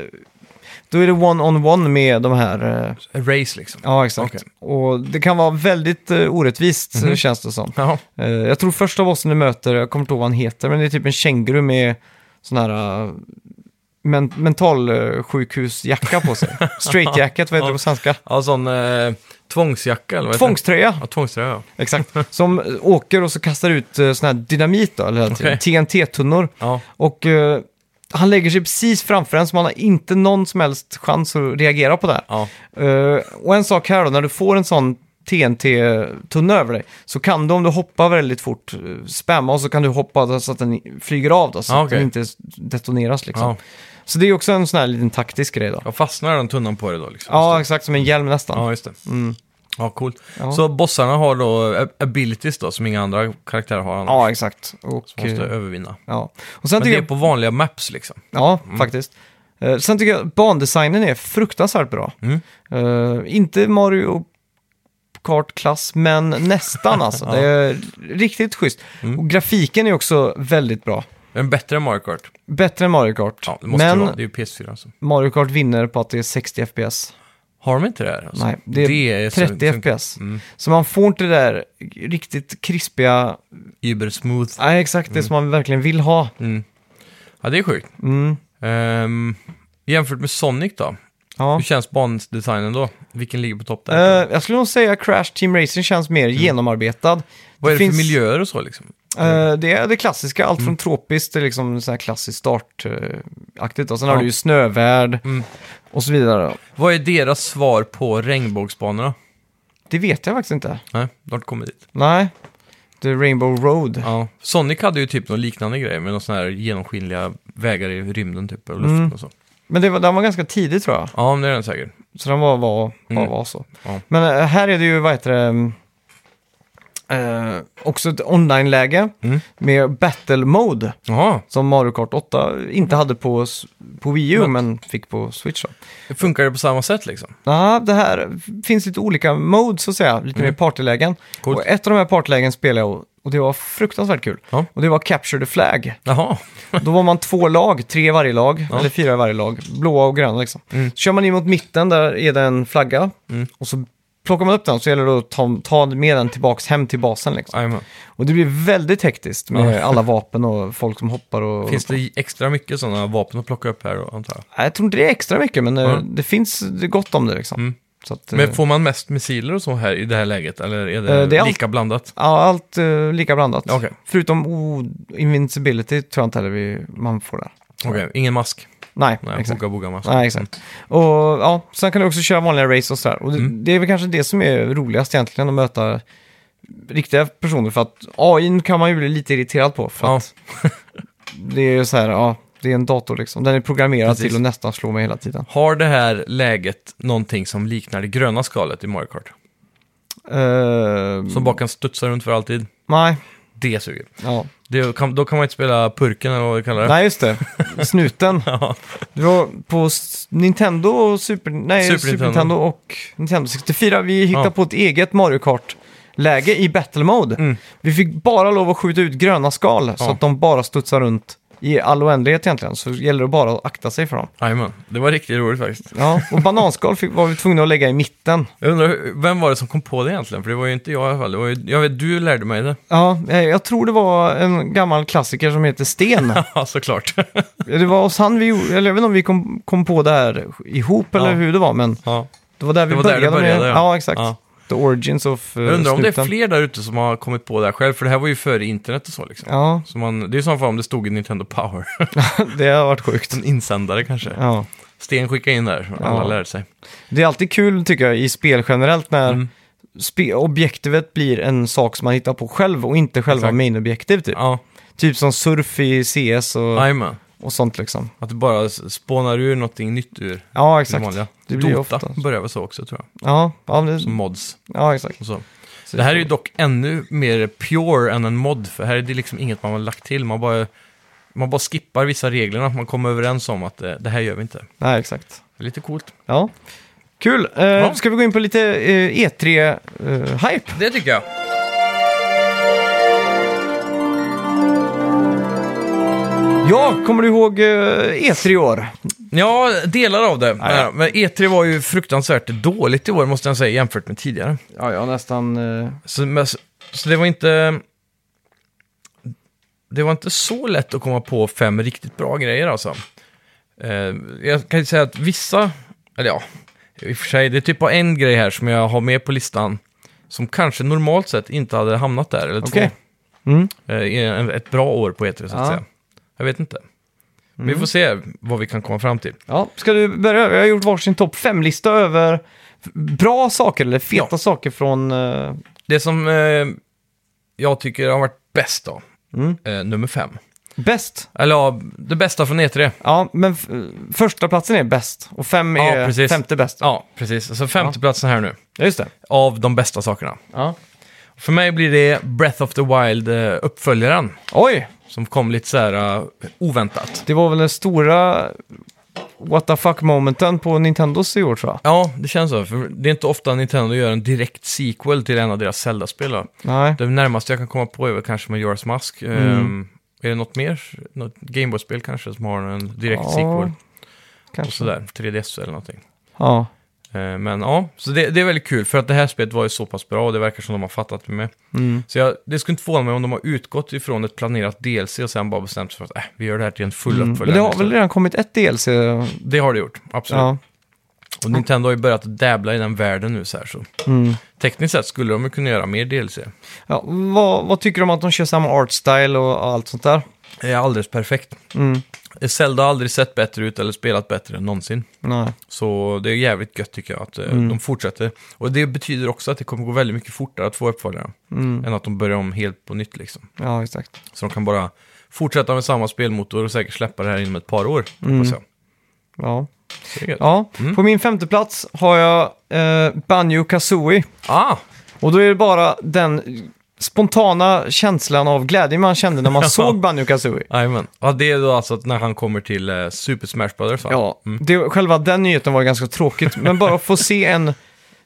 [SPEAKER 1] då är det one-on-one med de här... eh,
[SPEAKER 2] A Race liksom.
[SPEAKER 1] Ja, exakt.
[SPEAKER 2] Okej. Mhm.
[SPEAKER 1] Och det kan vara väldigt eh, orättvist, eh, känns det som.
[SPEAKER 2] Ja,
[SPEAKER 1] Eh, jag tror första bossen du möter, jag kommer inte ihåg vad han heter, men det är typ en känguru med sån här eh, men- mentalsjukhusjacka på sig. Straight jacket, vad heter det på svenska?
[SPEAKER 2] ja sån eh, tvångsjacka eller vad heter det?
[SPEAKER 1] Tvångströja!
[SPEAKER 2] Ja, tvångströja ja.
[SPEAKER 1] Exakt. Som eh, åker och så kastar ut eh, sån här dynamit då, eller
[SPEAKER 2] Okej.
[SPEAKER 1] TNT-tunnor.
[SPEAKER 2] ja.
[SPEAKER 1] Och eh, han lägger sig precis framför en så man har inte någon som helst chans att reagera på det här.
[SPEAKER 2] Ja,
[SPEAKER 1] Eh, och en sak här då, när du får en sån TNT-tunna över dig så kan du om du hoppar väldigt fort eh, spamma och så kan du hoppa så att den flyger av då, så
[SPEAKER 2] Ja,
[SPEAKER 1] att den
[SPEAKER 2] okej.
[SPEAKER 1] inte s- detoneras liksom.
[SPEAKER 2] ja.
[SPEAKER 1] Så det är också en sån här liten taktisk grej då.
[SPEAKER 2] Jag fastnar den tunnan på det då liksom.
[SPEAKER 1] Ja, exakt som en hjälm nästan.
[SPEAKER 2] Ja, just det. Mm. Ja, coolt.
[SPEAKER 1] Ja.
[SPEAKER 2] Så bossarna har då eh, abilities då, som inga andra karaktärer har annars.
[SPEAKER 1] Ja, exakt. Och,
[SPEAKER 2] Som måste
[SPEAKER 1] eh,
[SPEAKER 2] övervinna.
[SPEAKER 1] ja. och sen
[SPEAKER 2] Men det
[SPEAKER 1] tycker
[SPEAKER 2] är på vanliga maps liksom.
[SPEAKER 1] Ja, faktiskt. Eh, sen tycker jag att bandesignen är fruktansvärt bra.
[SPEAKER 2] Mm.
[SPEAKER 1] Eh, inte Mario Kart-klass, men nästan alltså. Det är riktigt schysst.
[SPEAKER 2] Mm.
[SPEAKER 1] Och grafiken är också väldigt bra.
[SPEAKER 2] En bättre än Mario Kart.
[SPEAKER 1] Bättre än Mario Kart.
[SPEAKER 2] Ja, det måste
[SPEAKER 1] men
[SPEAKER 2] det vara. Det är ju PS4 alltså.
[SPEAKER 1] Mario Kart vinner på att det är 60 FPS.
[SPEAKER 2] Har de inte det här? Alltså?
[SPEAKER 1] Nej, det är,
[SPEAKER 2] så-
[SPEAKER 1] 30
[SPEAKER 2] så- Mm.
[SPEAKER 1] FPS. Så man får inte det där riktigt krispiga...
[SPEAKER 2] Uber smooth.
[SPEAKER 1] Nej, exakt
[SPEAKER 2] Mm.
[SPEAKER 1] det som man verkligen vill ha.
[SPEAKER 2] Ja, det är sjukt.
[SPEAKER 1] Mm.
[SPEAKER 2] Ehm, jämfört med Sonic då?
[SPEAKER 1] Ja.
[SPEAKER 2] Hur känns bandesignen då? Vilken ligger på topp där?
[SPEAKER 1] Eh, jag skulle nog säga Crash Team Racing känns mer genomarbetad.
[SPEAKER 2] Mm. Vad är det
[SPEAKER 1] finns-
[SPEAKER 2] för miljöer och så liksom?
[SPEAKER 1] Eh, det är det klassiska, allt från tropiskt till liksom så här klassiskt startaktigt. Och sen har
[SPEAKER 2] Ja.
[SPEAKER 1] du ju snövärld
[SPEAKER 2] Mm.
[SPEAKER 1] och så vidare.
[SPEAKER 2] Vad är deras svar på regnbågsbanorna?
[SPEAKER 1] Det vet jag faktiskt inte.
[SPEAKER 2] Nej, de har inte kommit dit.
[SPEAKER 1] Nej, The Rainbow Road.
[SPEAKER 2] Ja. Sonic hade ju typ någon liknande grej med någon sån här genomskinliga vägar i rymden typ, och luften
[SPEAKER 1] Mm.
[SPEAKER 2] och så.
[SPEAKER 1] Men det var, den var ganska tidig tror jag.
[SPEAKER 2] Ja, men det är den säkert.
[SPEAKER 1] Så den var, var, var,
[SPEAKER 2] Mm.
[SPEAKER 1] var så.
[SPEAKER 2] Ja.
[SPEAKER 1] Men eh, här är det ju, vad heter det, mm, eh, också ett online-läge
[SPEAKER 2] Mm.
[SPEAKER 1] med battle mode.
[SPEAKER 2] Jaha,
[SPEAKER 1] Som Mario Kart 8 inte hade på, s- på Wii U, men fick på Switch. Då.
[SPEAKER 2] funkar det på samma sätt liksom?
[SPEAKER 1] Ja, det här finns lite olika modes så att säga, lite mer partylägen.
[SPEAKER 2] Mm. Coolt.
[SPEAKER 1] Och ett av de här partylägen spelade jag och- och det var fruktansvärt kul.
[SPEAKER 2] Ja.
[SPEAKER 1] Och det var Capture the Flag.
[SPEAKER 2] Jaha,
[SPEAKER 1] Då var man två lag, tre i varje lag,
[SPEAKER 2] Ja.
[SPEAKER 1] eller fyra i varje lag, blåa och gröna liksom.
[SPEAKER 2] Mm.
[SPEAKER 1] Så kör man in mot mitten, där är det en flagga.
[SPEAKER 2] Mm.
[SPEAKER 1] Och så plockar man upp den så gäller det att ta, ta med den tillbaks hem till basen liksom.
[SPEAKER 2] Jajamän.
[SPEAKER 1] Och det blir väldigt hektiskt med
[SPEAKER 2] Ja.
[SPEAKER 1] alla vapen och folk som hoppar och...
[SPEAKER 2] Finns det extra mycket sådana vapen att plocka upp här antar jag?
[SPEAKER 1] Nej, Jag tror inte det är extra mycket, men eh,
[SPEAKER 2] Mm.
[SPEAKER 1] det finns det är gott om det liksom.
[SPEAKER 2] Mm.
[SPEAKER 1] Så att, eh,
[SPEAKER 2] Men får man mest missiler och så här i det här läget? Eller är det,
[SPEAKER 1] Eh, det är allt-
[SPEAKER 2] lika blandat?
[SPEAKER 1] Ja, allt eh, lika blandat.
[SPEAKER 2] Ja, okej.
[SPEAKER 1] Förutom o- invincibility tror jag inte heller vi, man får där.
[SPEAKER 2] Okej, ingen mask.
[SPEAKER 1] Nej,
[SPEAKER 2] Nej,
[SPEAKER 1] exakt.
[SPEAKER 2] boga boga mask. Mm.
[SPEAKER 1] Nej, exakt. Och ja, sen kan du också köra vanliga race och sådär. Och det, det är väl kanske det som är roligast egentligen, att möta riktiga personer. För att AI kan man ju bli lite irriterad på. För
[SPEAKER 2] Ja.
[SPEAKER 1] att det är ju så här, ja, det är en dator liksom. Den är programmerad
[SPEAKER 2] Precis.
[SPEAKER 1] till att nästan slå mig hela tiden.
[SPEAKER 2] Har det här läget någonting som liknar det gröna skalet i Mario Kart?
[SPEAKER 1] Eh,
[SPEAKER 2] Som bara kan studsa runt för alltid?
[SPEAKER 1] Nej,
[SPEAKER 2] Det suger.
[SPEAKER 1] ja.
[SPEAKER 2] Det kan, då kan man inte spela purken eller vad vi kallar det.
[SPEAKER 1] Nej, just det. Snuten.
[SPEAKER 2] Ja.
[SPEAKER 1] Det var på s- Nintendo och Super, nej,
[SPEAKER 2] Super
[SPEAKER 1] Super,
[SPEAKER 2] Nintendo.
[SPEAKER 1] Nintendo. och Nintendo 64. Vi hittade
[SPEAKER 2] Ja.
[SPEAKER 1] på ett eget Mario Kart-läge i Battle Mode.
[SPEAKER 2] Mm.
[SPEAKER 1] Vi fick bara lov att skjuta ut gröna skal så
[SPEAKER 2] Ja.
[SPEAKER 1] att de bara studsar runt i all oändlighet egentligen. Så gäller det bara att akta sig för dem.
[SPEAKER 2] Jajamän, det var riktigt roligt faktiskt.
[SPEAKER 1] Ja, och bananskal fick, var vi tvungna att lägga i mitten.
[SPEAKER 2] Jag undrar, hur- vem var det som kom på det egentligen? För det var ju inte jag i alla fall. Det var ju, jag vet, du lärde mig det.
[SPEAKER 1] Ja, eh, jag tror det var en gammal klassiker som heter Sten.
[SPEAKER 2] Ja, såklart.
[SPEAKER 1] det var hos han vi gjorde, eller jag vet inte om vi kom, kom på det här ihop eller
[SPEAKER 2] Ja.
[SPEAKER 1] hur det var, men
[SPEAKER 2] Ja.
[SPEAKER 1] det var där vi
[SPEAKER 2] Det var där
[SPEAKER 1] började.
[SPEAKER 2] det började,
[SPEAKER 1] med,
[SPEAKER 2] ja.
[SPEAKER 1] ja. exakt.
[SPEAKER 2] Ja.
[SPEAKER 1] The Origins of eh,
[SPEAKER 2] Jag undrar om det är
[SPEAKER 1] snuten.
[SPEAKER 2] fler där ute som har kommit på det här själv, för det här var ju före internet och så liksom.
[SPEAKER 1] Ja,
[SPEAKER 2] Så man, det är som om det stod i Nintendo Power.
[SPEAKER 1] det har varit sjukt.
[SPEAKER 2] en insändare kanske.
[SPEAKER 1] Ja.
[SPEAKER 2] Sten skickade in där, alla
[SPEAKER 1] Ja.
[SPEAKER 2] lärde sig.
[SPEAKER 1] Det är alltid kul tycker jag i spel generellt när
[SPEAKER 2] Mm.
[SPEAKER 1] spe- objektivet blir en sak som man hittar på själv och inte själva
[SPEAKER 2] Exakt.
[SPEAKER 1] main-objektiv typ.
[SPEAKER 2] Ja,
[SPEAKER 1] Typ som surf i CS och,
[SPEAKER 2] jajamän.
[SPEAKER 1] och sånt liksom.
[SPEAKER 2] Att det bara s- spånar ur någonting nytt ur
[SPEAKER 1] Ja,
[SPEAKER 2] det
[SPEAKER 1] exakt.
[SPEAKER 2] vanliga.
[SPEAKER 1] Det blir ju
[SPEAKER 2] Dota
[SPEAKER 1] ofta.
[SPEAKER 2] börjar väl så också tror jag,
[SPEAKER 1] Ja, ja, men
[SPEAKER 2] som
[SPEAKER 1] det,
[SPEAKER 2] mods.
[SPEAKER 1] ja, exakt.
[SPEAKER 2] Och så.
[SPEAKER 1] Så
[SPEAKER 2] Det här är ju dock ännu mer pure än en mod, för här är det liksom inget man har lagt till. Man bara, man bara skippar vissa reglerna, man kommer överens om att eh, det här gör vi inte.
[SPEAKER 1] Nej, exakt.
[SPEAKER 2] Det är lite coolt.
[SPEAKER 1] Ja. Kul! Eh,
[SPEAKER 2] Ja.
[SPEAKER 1] Ska vi gå in på lite eh, E E3-hype?
[SPEAKER 2] Det tycker jag.
[SPEAKER 1] ja, kommer du ihåg eh, E3 i år?
[SPEAKER 2] Ja, delar av det.
[SPEAKER 1] Ja, ja.
[SPEAKER 2] Men E3 var ju fruktansvärt dåligt i år, måste jag säga, jämfört med tidigare.
[SPEAKER 1] Ja, jag nästan... eh,
[SPEAKER 2] Så, men, så- så det var inte... Det var inte så lätt att komma på fem riktigt bra grejer alltså. Eh, jag kan ju säga att vissa, eller ja, i och för sig, det är typ bara en grej här som jag har med på listan som kanske normalt sett inte hade hamnat där, eller
[SPEAKER 1] Okej.
[SPEAKER 2] två.
[SPEAKER 1] Mm.
[SPEAKER 2] Eh, i en- ett bra år på E3 så att
[SPEAKER 1] Ja. Mm.
[SPEAKER 2] säga. Jag vet inte. Men Vi får se vad vi kan komma fram till.
[SPEAKER 1] Ja, ska du börja? Jag har gjort varsin topp 5-lista över bra saker eller feta
[SPEAKER 2] Ja.
[SPEAKER 1] saker från... eh,
[SPEAKER 2] Det som eh, jag tycker har varit bäst då,
[SPEAKER 1] Mm.
[SPEAKER 2] eh, nummer fem.
[SPEAKER 1] Bäst?
[SPEAKER 2] Eller ja, det bästa från E E3.
[SPEAKER 1] Ja, men f- första platsen är bäst och fem
[SPEAKER 2] Ja,
[SPEAKER 1] är
[SPEAKER 2] precis.
[SPEAKER 1] femte bäst.
[SPEAKER 2] Ja, precis. Så femteplatsen här nu,
[SPEAKER 1] Alltså. Ja, just det.
[SPEAKER 2] av de bästa sakerna.
[SPEAKER 1] Ja.
[SPEAKER 2] För mig blir det Breath of the Wild, eh, uppföljaren,
[SPEAKER 1] Oj,
[SPEAKER 2] som kom lite så här eh, oväntat.
[SPEAKER 1] det var väl den stora what the fuck-momenten på Nintendos i år tror jag.
[SPEAKER 2] Ja, det känns så. För det är inte ofta Nintendo gör en direkt sequel till en av deras Zelda-spel. då.
[SPEAKER 1] Nej.
[SPEAKER 2] Det närmaste jag kan komma på är väl kanske med Majora's Mask.
[SPEAKER 1] Mm.
[SPEAKER 2] Ehm, är det något mer? Något Gameboy-spel kanske som har en direkt
[SPEAKER 1] Ja,
[SPEAKER 2] sequel? Och
[SPEAKER 1] Kanske.
[SPEAKER 2] sådär, 3DS eller någonting.
[SPEAKER 1] Ja.
[SPEAKER 2] Eh, Men ja, så det, det är väldigt kul för att det här spelet var ju så pass bra och det verkar som de har fattat det med.
[SPEAKER 1] Mm.
[SPEAKER 2] Så jag, det skulle inte förvåna mig om de har utgått ifrån ett planerat DLC och sen bara bestämt sig för att äh, vi gör det här till en full
[SPEAKER 1] Mm. Men
[SPEAKER 2] uppföljare.
[SPEAKER 1] det har väl
[SPEAKER 2] istället."
[SPEAKER 1] redan kommit ett DLC?
[SPEAKER 2] det har det gjort, absolut.
[SPEAKER 1] Ja.
[SPEAKER 2] Och Nintendo har ju börjat att dabbla i den världen nu så här så.
[SPEAKER 1] Mm.
[SPEAKER 2] Tekniskt sett skulle de ju kunna göra mer DLC.
[SPEAKER 1] ja vad, vad tycker du om att de kör samma art style och allt sånt där?
[SPEAKER 2] Det är alldeles perfekt.
[SPEAKER 1] Mm.
[SPEAKER 2] Zelda har aldrig sett bättre ut eller spelat bättre än någonsin.
[SPEAKER 1] Nej.
[SPEAKER 2] Så det är jävligt gött tycker jag att eh,
[SPEAKER 1] Mm.
[SPEAKER 2] de fortsätter. Och det betyder också att det kommer gå väldigt mycket fortare att få uppföljaren.
[SPEAKER 1] Mm.
[SPEAKER 2] Än att de börjar om helt på nytt liksom.
[SPEAKER 1] Ja, exakt.
[SPEAKER 2] Så de kan bara fortsätta med samma spelmotor och säkert släppa det här inom ett par år.
[SPEAKER 1] Mm.
[SPEAKER 2] hoppas jag.
[SPEAKER 1] Ja.
[SPEAKER 2] Så det är gött.
[SPEAKER 1] ja.
[SPEAKER 2] Mm.
[SPEAKER 1] På min femte plats har jag eh, Banjo Kazooie.
[SPEAKER 2] Ah,
[SPEAKER 1] Och då är det bara den spontana känslan av glädje man kände när man såg Banjo Kazooie.
[SPEAKER 2] jajamän. Ja, det är då alltså att när han kommer till eh, Super Smash Brothers va?
[SPEAKER 1] Ja,
[SPEAKER 2] Mm.
[SPEAKER 1] det, själva den nyheten var ganska tråkigt, men bara att få se en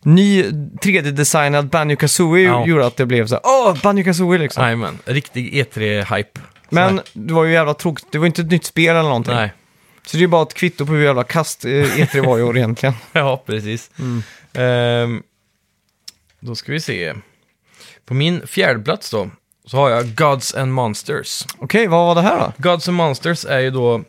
[SPEAKER 1] ny 3D-designad Banjo Kazooie
[SPEAKER 2] Ja.
[SPEAKER 1] gjorde att det blev så här, åh, Banjo Kazooie liksom.
[SPEAKER 2] Jajamän, riktig E E3-hype.
[SPEAKER 1] men det var ju jävla tråkigt, det var inte ett nytt spel eller någonting.
[SPEAKER 2] Nej,
[SPEAKER 1] Så det är ju bara ett kvitto på hur jävla kast eh, E3 var i år egentligen.
[SPEAKER 2] ja precis. Ehm, då ska vi se. På min fjärde plats då, så har jag Gods and Monsters.
[SPEAKER 1] Okej, vad var det här då?
[SPEAKER 2] Gods and Monsters är ju då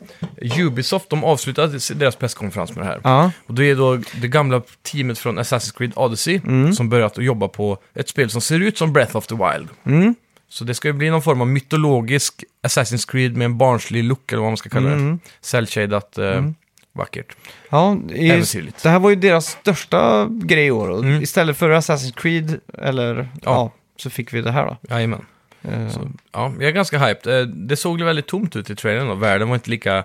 [SPEAKER 2] Ubisoft, de avslutade deras presskonferens med det här.
[SPEAKER 1] Ja,
[SPEAKER 2] Och det är då det gamla teamet från Assassin's Creed Odyssey som börjat att jobba på ett spel som ser ut som Breath of the Wild.
[SPEAKER 1] Mm.
[SPEAKER 2] Så det ska ju bli någon form av mytologisk Assassin's Creed med en barnslig look eller vad man ska kalla
[SPEAKER 1] Mm.
[SPEAKER 2] det. Cellshadat, eh, vackert.
[SPEAKER 1] ja i,
[SPEAKER 2] Äventyrligt.
[SPEAKER 1] det här var ju deras största grej i år. Och
[SPEAKER 2] Mm.
[SPEAKER 1] Istället för Assassin's Creed, eller ja. så fick vi det här då.
[SPEAKER 2] Jajamän.
[SPEAKER 1] Eh,
[SPEAKER 2] Så, ja, jag är ganska hyped. Eh, Det såg ju väldigt tomt ut i trailern och världen var inte lika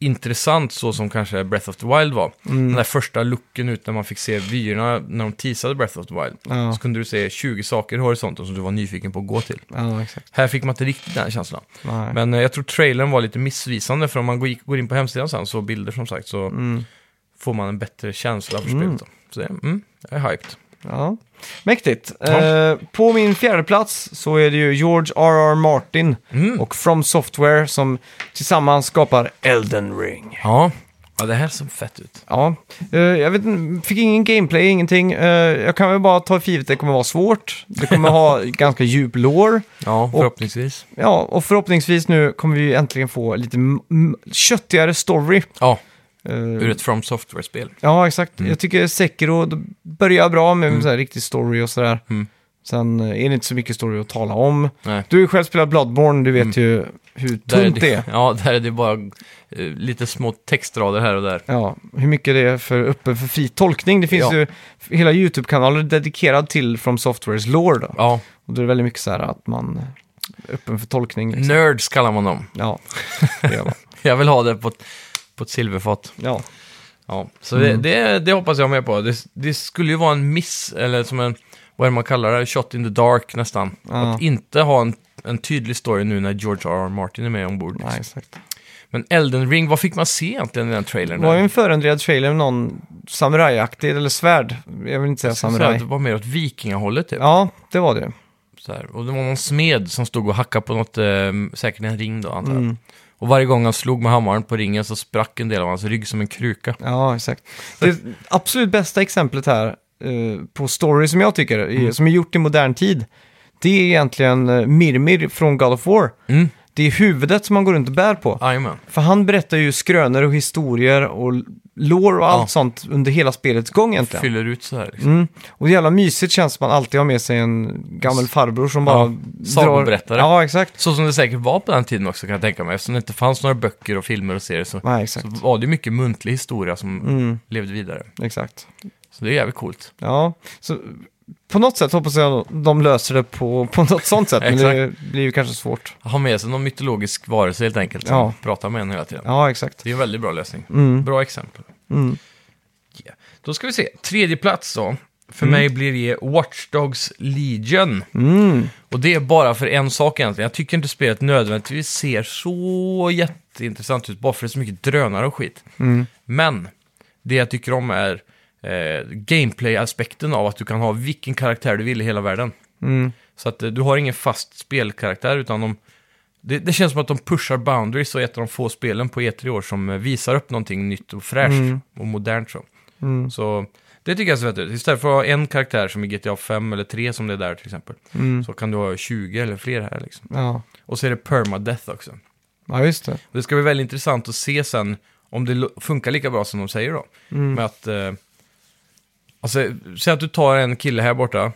[SPEAKER 2] intressant så som kanske Breath of the Wild var. Den där första looken ut när man fick se vyerna när de teasade Breath of the Wild.
[SPEAKER 1] Ja.
[SPEAKER 2] Så kunde du se 20 saker i horisonten som du var nyfiken på att gå till.
[SPEAKER 1] Ja, exakt.
[SPEAKER 2] Här fick man inte riktigt den känslan.
[SPEAKER 1] Nej.
[SPEAKER 2] Men eh, jag tror trailern var lite missvisande, för om man går- gick- går in på hemsidan sen, så bilder som sagt, så får man en bättre känsla för spelet. Då. Så det, mm, jag är hyped.
[SPEAKER 1] Ja, mäktigt. Eh, på min fjärde plats så är det ju George R.R. Martin
[SPEAKER 2] Mm.
[SPEAKER 1] och From Software som tillsammans skapar Elden Ring.
[SPEAKER 2] Ja. ja, det här ser fett ut.
[SPEAKER 1] Ja, eh, jag vet, inte, fick ingen gameplay, ingenting. Eh, jag kan väl bara ta för givet att det kommer vara svårt. Det kommer ha ganska djup lore.
[SPEAKER 2] Ja, förhoppningsvis.
[SPEAKER 1] Ja, och förhoppningsvis nu kommer vi ju äntligen få lite m- m- köttigare story.
[SPEAKER 2] Ja,
[SPEAKER 1] Eh,
[SPEAKER 2] Ur ett Mm. From Software-spel.
[SPEAKER 1] Ja, exakt. Jag tycker Sekiro det börjar bra med så här riktig story och sådär.
[SPEAKER 2] Mm.
[SPEAKER 1] Sen eh, är det inte så mycket story att tala om.
[SPEAKER 2] Nej. Mm.
[SPEAKER 1] Du har ju själv spelat Bloodborne, du vet ju hur
[SPEAKER 2] Där
[SPEAKER 1] tunt det är.
[SPEAKER 2] Ja, där är det bara eh, lite små textrader här och där.
[SPEAKER 1] Ja, hur mycket det är för öppen för fri tolkning. Det finns
[SPEAKER 2] Ja.
[SPEAKER 1] ju hela YouTube-kanaler dedikerad till From Softwares lore då.
[SPEAKER 2] Ja,
[SPEAKER 1] Och då är det väldigt mycket så här att man är öppen för tolkning. Liksom.
[SPEAKER 2] nerds kallar man dem.
[SPEAKER 1] Ja, det gör man.
[SPEAKER 2] Jag vill ha det på ett, på ett silverfat.
[SPEAKER 1] Ja, Mm.
[SPEAKER 2] Ja, så det, det, det hoppas jag med på. Det, det skulle ju vara en miss, eller som en, vad är det man kallar det, shot in the dark nästan.
[SPEAKER 1] Ja.
[SPEAKER 2] Att inte ha en, en tydlig story nu när George R. R. Martin är med ombord. liksom.
[SPEAKER 1] nej, exakt.
[SPEAKER 2] Men Elden Ring, vad fick man se egentligen i den trailern?
[SPEAKER 1] Det var ju
[SPEAKER 2] Där?
[SPEAKER 1] en förändrad trailer med någon samurajaktig, eller svärd. Jag vill inte säga
[SPEAKER 2] Så här, det
[SPEAKER 1] samuraj.
[SPEAKER 2] var mer åt vikingahållet typ.
[SPEAKER 1] Ja, det var det.
[SPEAKER 2] Så här. Och det var någon smed som stod och hackade på något, eh, säkert en ring då antar jag.
[SPEAKER 1] Mm.
[SPEAKER 2] Och varje gång han slog med hammaren på ringen så sprack en del av hans rygg som en kruka.
[SPEAKER 1] Ja, exakt. Det absolut bästa exemplet här eh, på story som jag tycker, är-
[SPEAKER 2] Mm.
[SPEAKER 1] som är gjort i modern tid, det är egentligen eh, Mirmir från God of War.
[SPEAKER 2] Mm.
[SPEAKER 1] Det är huvudet som man går runt och bär på.
[SPEAKER 2] Jajamän.
[SPEAKER 1] För han berättar ju skrönor och historier och lore och allt
[SPEAKER 2] Ja.
[SPEAKER 1] sånt under hela spelets gång egentligen.
[SPEAKER 2] Fyller ut så här liksom.
[SPEAKER 1] Mm. Och det jävla mysigt känns som man alltid har med sig en gammal farbror som bara drar...
[SPEAKER 2] sagoberättare.
[SPEAKER 1] Ja, exakt.
[SPEAKER 2] Så som det säkert var på den tiden också kan jag tänka mig. Eftersom det inte fanns några böcker och filmer och serier så,
[SPEAKER 1] Nej,
[SPEAKER 2] så
[SPEAKER 1] exakt.
[SPEAKER 2] var det ju mycket muntlig historia som
[SPEAKER 1] Mm,
[SPEAKER 2] levde vidare.
[SPEAKER 1] exakt.
[SPEAKER 2] Så det är jävligt coolt.
[SPEAKER 1] Ja, så på något sätt hoppas jag de löser det på, på något sånt sätt. men det blir ju kanske svårt.
[SPEAKER 2] Ha med sig någon mytologisk varelse helt enkelt. Som
[SPEAKER 1] Ja.
[SPEAKER 2] Pratar med en hela tiden.
[SPEAKER 1] Ja, exakt.
[SPEAKER 2] Det är en väldigt bra lösning.
[SPEAKER 1] Mm.
[SPEAKER 2] Bra exempel.
[SPEAKER 1] Mm.
[SPEAKER 2] Yeah. Då ska vi se. Tredje plats då. För mig blir det Watchdogs Legion.
[SPEAKER 1] Mm.
[SPEAKER 2] Och det är bara för en sak egentligen. Jag tycker inte spelet nödvändigtvis ser så jätteintressant ut, bara för det är så mycket drönare och skit.
[SPEAKER 1] Mm.
[SPEAKER 2] Men det jag tycker om är eh, gameplay-aspekten av att du kan ha vilken karaktär du vill i hela världen.
[SPEAKER 1] Mm.
[SPEAKER 2] Så att eh, du har ingen fast spelkaraktär, utan de, det, det känns som att de pushar boundaries och är ett av de få spelen på E3 år som eh, visar upp någonting nytt och fräscht och modernt. Så.
[SPEAKER 1] Mm.
[SPEAKER 2] Så det tycker jag ser fett ut. Istället för att ha en karaktär som i GTA 5 eller 3 som det är där till exempel.
[SPEAKER 1] Mm.
[SPEAKER 2] Så kan du ha 20 eller fler här liksom.
[SPEAKER 1] Ja.
[SPEAKER 2] Och så är det permadeath också.
[SPEAKER 1] ja, just det.
[SPEAKER 2] Och det ska bli väldigt intressant att se sen om det lo- funkar lika bra som de säger då.
[SPEAKER 1] Mm.
[SPEAKER 2] Med att... Eh, alltså, säg att du tar en kille här borta.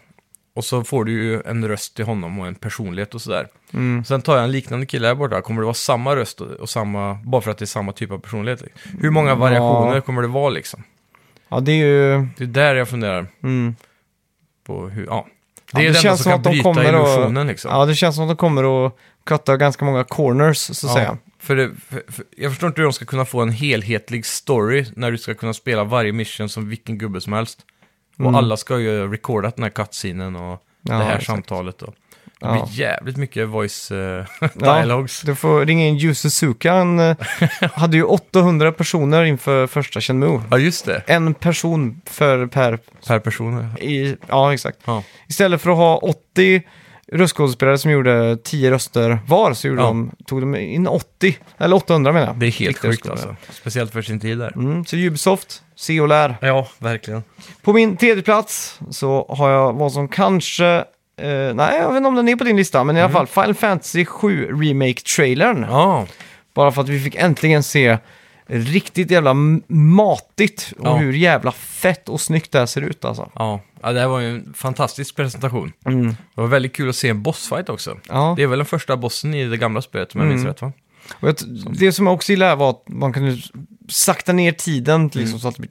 [SPEAKER 2] Och så får du ju en röst till honom och en personlighet och sådär.
[SPEAKER 1] Mm.
[SPEAKER 2] Sen tar jag en liknande kille här borta. Kommer det vara samma röst och, och samma... Bara för att det är samma typ av personlighet? liksom? Hur
[SPEAKER 1] Mm,
[SPEAKER 2] många variationer kommer det vara liksom?
[SPEAKER 1] Ja, det är ju...
[SPEAKER 2] Det är där jag funderar
[SPEAKER 1] Mm.
[SPEAKER 2] på hur... Ja. Det
[SPEAKER 1] Ja, det
[SPEAKER 2] är det, enda
[SPEAKER 1] känns som
[SPEAKER 2] som kan
[SPEAKER 1] att de
[SPEAKER 2] bryta
[SPEAKER 1] kommer att-
[SPEAKER 2] illusionen liksom.
[SPEAKER 1] Ja, det känns som att de kommer att cutta ganska många corners, så att säga.
[SPEAKER 2] För det, för, för, jag förstår inte hur de ska kunna få en helhetlig story när du ska kunna spela varje mission som vilken gubbe som helst.
[SPEAKER 1] Mm.
[SPEAKER 2] Och alla ska ju ha recordat den här cutscenen och
[SPEAKER 1] Ja,
[SPEAKER 2] det här
[SPEAKER 1] exakt.
[SPEAKER 2] samtalet. Och. Det
[SPEAKER 1] Ja.
[SPEAKER 2] blir jävligt mycket voice eh, dialogues.
[SPEAKER 1] Du får ringa in Yu Suzuka. Han eh, hade ju 800 personer inför första Shenmue.
[SPEAKER 2] Ja, just det.
[SPEAKER 1] En person för per...
[SPEAKER 2] Per person.
[SPEAKER 1] I, ja, exakt.
[SPEAKER 2] Ja.
[SPEAKER 1] Istället för att ha 80 röstskådespelare som gjorde 10 röster var så gjorde
[SPEAKER 2] Ja.
[SPEAKER 1] de, tog de in 80, eller 800 menar jag.
[SPEAKER 2] Det är helt
[SPEAKER 1] Riktiga
[SPEAKER 2] sjukt
[SPEAKER 1] röstskådespelare.
[SPEAKER 2] alltså. Speciellt för sin tid där.
[SPEAKER 1] Mm, så Ubisoft, se och lär.
[SPEAKER 2] Ja, verkligen.
[SPEAKER 1] På min tredje plats så har jag vad som kanske, eh, nej jag vet inte om den är på din lista, men i alla fall Final Fantasy 7 Remake-trailern.
[SPEAKER 2] Mm. Ja,
[SPEAKER 1] Bara för att vi fick äntligen se riktigt jävla m- matigt och
[SPEAKER 2] Ja.
[SPEAKER 1] hur jävla fett och snyggt det här ser ut alltså.
[SPEAKER 2] ja. ja, det här var ju en fantastisk presentation. Det var väldigt kul att se en bossfight också.
[SPEAKER 1] Ja. Mm.
[SPEAKER 2] Det är väl den första bossen i det gamla spelet om jag minns rätt va?
[SPEAKER 1] Och jag, t- det som jag också gillar här var att man kunde s- sakta ner tiden liksom, så att det blir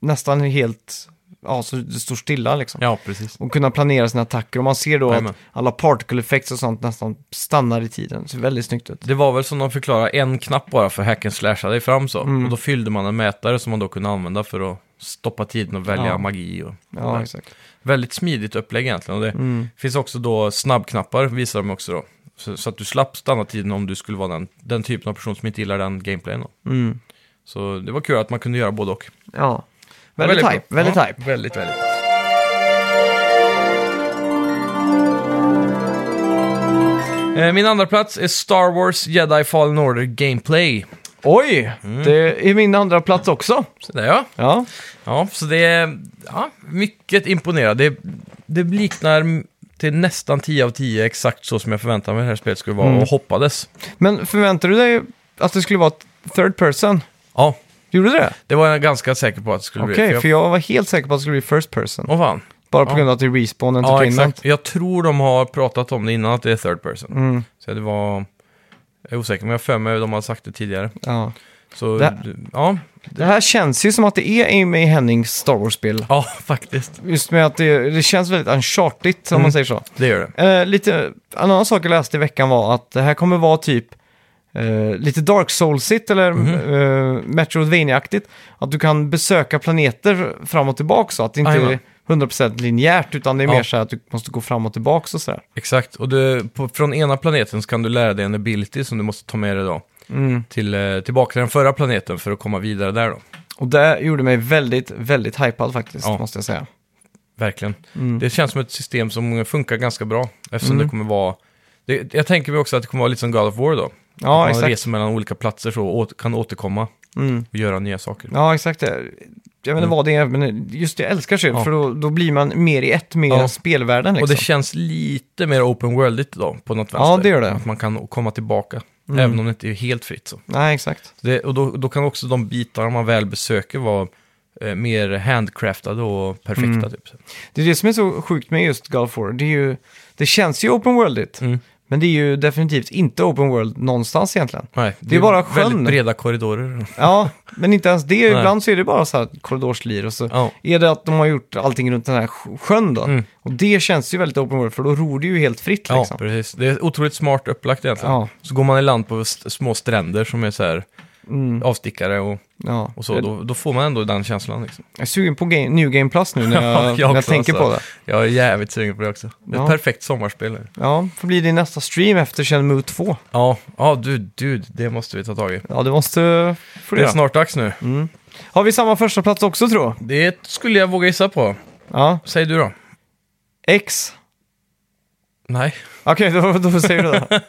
[SPEAKER 1] nästan helt, ja så det står stilla liksom.
[SPEAKER 2] Ja, precis.
[SPEAKER 1] Och kunna planera sina attacker. Och man ser då
[SPEAKER 2] Jajamän.
[SPEAKER 1] att alla particle effects och sånt nästan stannar i tiden. Det ser väldigt snyggt ut.
[SPEAKER 2] Det var väl som de förklarade, en knapp bara för hacken slasha dig fram så.
[SPEAKER 1] Mm.
[SPEAKER 2] Och då fyllde man en mätare som man då kunde använda för att stoppa tiden och välja
[SPEAKER 1] Ja.
[SPEAKER 2] magi. Och
[SPEAKER 1] Ja, Mm.
[SPEAKER 2] där.
[SPEAKER 1] exakt.
[SPEAKER 2] Väldigt smidigt upplägg egentligen. Och det finns också då snabbknappar, visar de också då. Så, så att du slapp stanna tiden om du skulle vara den, den typen av person som inte gillar den gameplayen. Då.
[SPEAKER 1] Mm.
[SPEAKER 2] Så det var kul att man kunde göra både och.
[SPEAKER 1] Ja. Väldigt
[SPEAKER 2] bra.
[SPEAKER 1] hype, väldigt
[SPEAKER 2] ja,
[SPEAKER 1] hype.
[SPEAKER 2] Väldigt, väldigt. Eh, Min andra plats är Star Wars Jedi Fallen Order Gameplay.
[SPEAKER 1] Oj, det är min andra plats också.
[SPEAKER 2] Så där ja.
[SPEAKER 1] Mm. Ja,
[SPEAKER 2] Ja, så det är ja, mycket imponerande. Det, det liknar till nästan 10 av 10 exakt så som jag förväntade mig det här spelet
[SPEAKER 1] Mm.
[SPEAKER 2] skulle vara och hoppades.
[SPEAKER 1] men förväntar du dig att det skulle vara ett third person?
[SPEAKER 2] Ja,
[SPEAKER 1] Gjorde du det?
[SPEAKER 2] Det var jag ganska säker på att det skulle
[SPEAKER 1] Okej,
[SPEAKER 2] bli.
[SPEAKER 1] för jag var helt säker på att det skulle bli first person.
[SPEAKER 2] Åh fan.
[SPEAKER 1] Bara på
[SPEAKER 2] ja.
[SPEAKER 1] grund av att det är respawn
[SPEAKER 2] Ja,
[SPEAKER 1] entertainment.
[SPEAKER 2] exakt. Jag tror de har pratat om det innan att det är third person.
[SPEAKER 1] Mm,
[SPEAKER 2] Så det var... Jag är osäker, men jag har för mig att de har sagt det tidigare.
[SPEAKER 1] ja.
[SPEAKER 2] Så,
[SPEAKER 1] Det-
[SPEAKER 2] ja.
[SPEAKER 1] Det här känns ju som att det är Amy Hennings Star Wars-spel.
[SPEAKER 2] Ja, faktiskt.
[SPEAKER 1] Just med att det, det känns väldigt uncharted, om
[SPEAKER 2] Mm.
[SPEAKER 1] man säger så.
[SPEAKER 2] Det gör det.
[SPEAKER 1] Eh, lite, en annan sak jag läste i veckan var att det här kommer vara typ eh, lite Dark Souls-igt eller
[SPEAKER 2] Mhm.
[SPEAKER 1] eh, Metroidvania-aktigt. Att du kan besöka planeter fram och tillbaka så att det inte
[SPEAKER 2] Jajamän.
[SPEAKER 1] är 100% linjärt utan det är
[SPEAKER 2] Ja.
[SPEAKER 1] mer så här att du måste gå fram och tillbaka och sådär.
[SPEAKER 2] Exakt. Och du, på, från ena planeten så kan du lära dig en ability som du måste ta med dig då.
[SPEAKER 1] Mm.
[SPEAKER 2] Till, eh, tillbaka till den förra planeten för att komma vidare där då.
[SPEAKER 1] Och det gjorde mig väldigt, väldigt hypad faktiskt,
[SPEAKER 2] Ja.
[SPEAKER 1] måste jag säga.
[SPEAKER 2] Verkligen.
[SPEAKER 1] Mm.
[SPEAKER 2] Det känns som ett system som funkar ganska bra. Eftersom
[SPEAKER 1] Mm.
[SPEAKER 2] det kommer vara... Det, jag tänker mig också att det kommer vara lite som God of War då.
[SPEAKER 1] Ja,
[SPEAKER 2] att man
[SPEAKER 1] exakt.
[SPEAKER 2] reser mellan olika platser så och åter, kan återkomma
[SPEAKER 1] Mm.
[SPEAKER 2] och göra nya saker.
[SPEAKER 1] Ja, exakt. det. Jag vet inte
[SPEAKER 2] Mm.
[SPEAKER 1] vad det är, men just det, jag älskar spel,
[SPEAKER 2] Ja.
[SPEAKER 1] för då, då blir man mer i ett med
[SPEAKER 2] Ja.
[SPEAKER 1] spelvärlden. Liksom.
[SPEAKER 2] Och det känns lite mer open worldigt då, på något vänster.
[SPEAKER 1] Ja, det gör det.
[SPEAKER 2] Att man kan komma tillbaka,
[SPEAKER 1] Mm.
[SPEAKER 2] även om det inte är helt fritt. Så.
[SPEAKER 1] Nej, exakt.
[SPEAKER 2] Det, och då, då kan också de bitar man väl besöker vara eh, mer handcraftade och perfekta.
[SPEAKER 1] Mm.
[SPEAKER 2] Typ.
[SPEAKER 1] Det är det som är så sjukt med just God of War. Det, är ju, det känns ju open worldigt,
[SPEAKER 2] Mm.
[SPEAKER 1] men det är ju definitivt inte open world någonstans egentligen.
[SPEAKER 2] Nej, det,
[SPEAKER 1] är bara sjön.
[SPEAKER 2] Väldigt breda korridorer.
[SPEAKER 1] Ja, men inte ens det.
[SPEAKER 2] Nej.
[SPEAKER 1] Ibland så är det bara så här korridorslir och så
[SPEAKER 2] Ja.
[SPEAKER 1] är det att de har gjort allting runt den här sj- sjön då.
[SPEAKER 2] Mm.
[SPEAKER 1] Och det känns ju väldigt open world, för då ror det ju helt fritt
[SPEAKER 2] Ja,
[SPEAKER 1] liksom.
[SPEAKER 2] precis. Det är otroligt smart upplagt egentligen.
[SPEAKER 1] Ja,
[SPEAKER 2] Så går man i land på st- små stränder som är så här
[SPEAKER 1] mm,
[SPEAKER 2] avstickare och,
[SPEAKER 1] ja.
[SPEAKER 2] och så. Då, då får man ändå den känslan. Liksom.
[SPEAKER 1] Jag är sugen på game, New Game Plus nu när jag,
[SPEAKER 2] Ja, jag
[SPEAKER 1] när jag
[SPEAKER 2] också,
[SPEAKER 1] tänker på
[SPEAKER 2] alltså.
[SPEAKER 1] det.
[SPEAKER 2] Jag är jävligt sugen på det också. Det är
[SPEAKER 1] Ja.
[SPEAKER 2] ett perfekt sommarspel. är det.
[SPEAKER 1] Ja, får bli din nästa stream efter Shenmue 2.
[SPEAKER 2] Ja, ja du, du, det måste vi ta tag i.
[SPEAKER 1] Ja, det måste få
[SPEAKER 2] Det är
[SPEAKER 1] göra. Mm.
[SPEAKER 2] snart dags nu.
[SPEAKER 1] Har vi samma första plats också tror jag?
[SPEAKER 2] Det skulle jag våga gissa på.
[SPEAKER 1] Ja,
[SPEAKER 2] Säg du då.
[SPEAKER 1] X.
[SPEAKER 2] Nej.
[SPEAKER 1] Okej, då, då säger du det.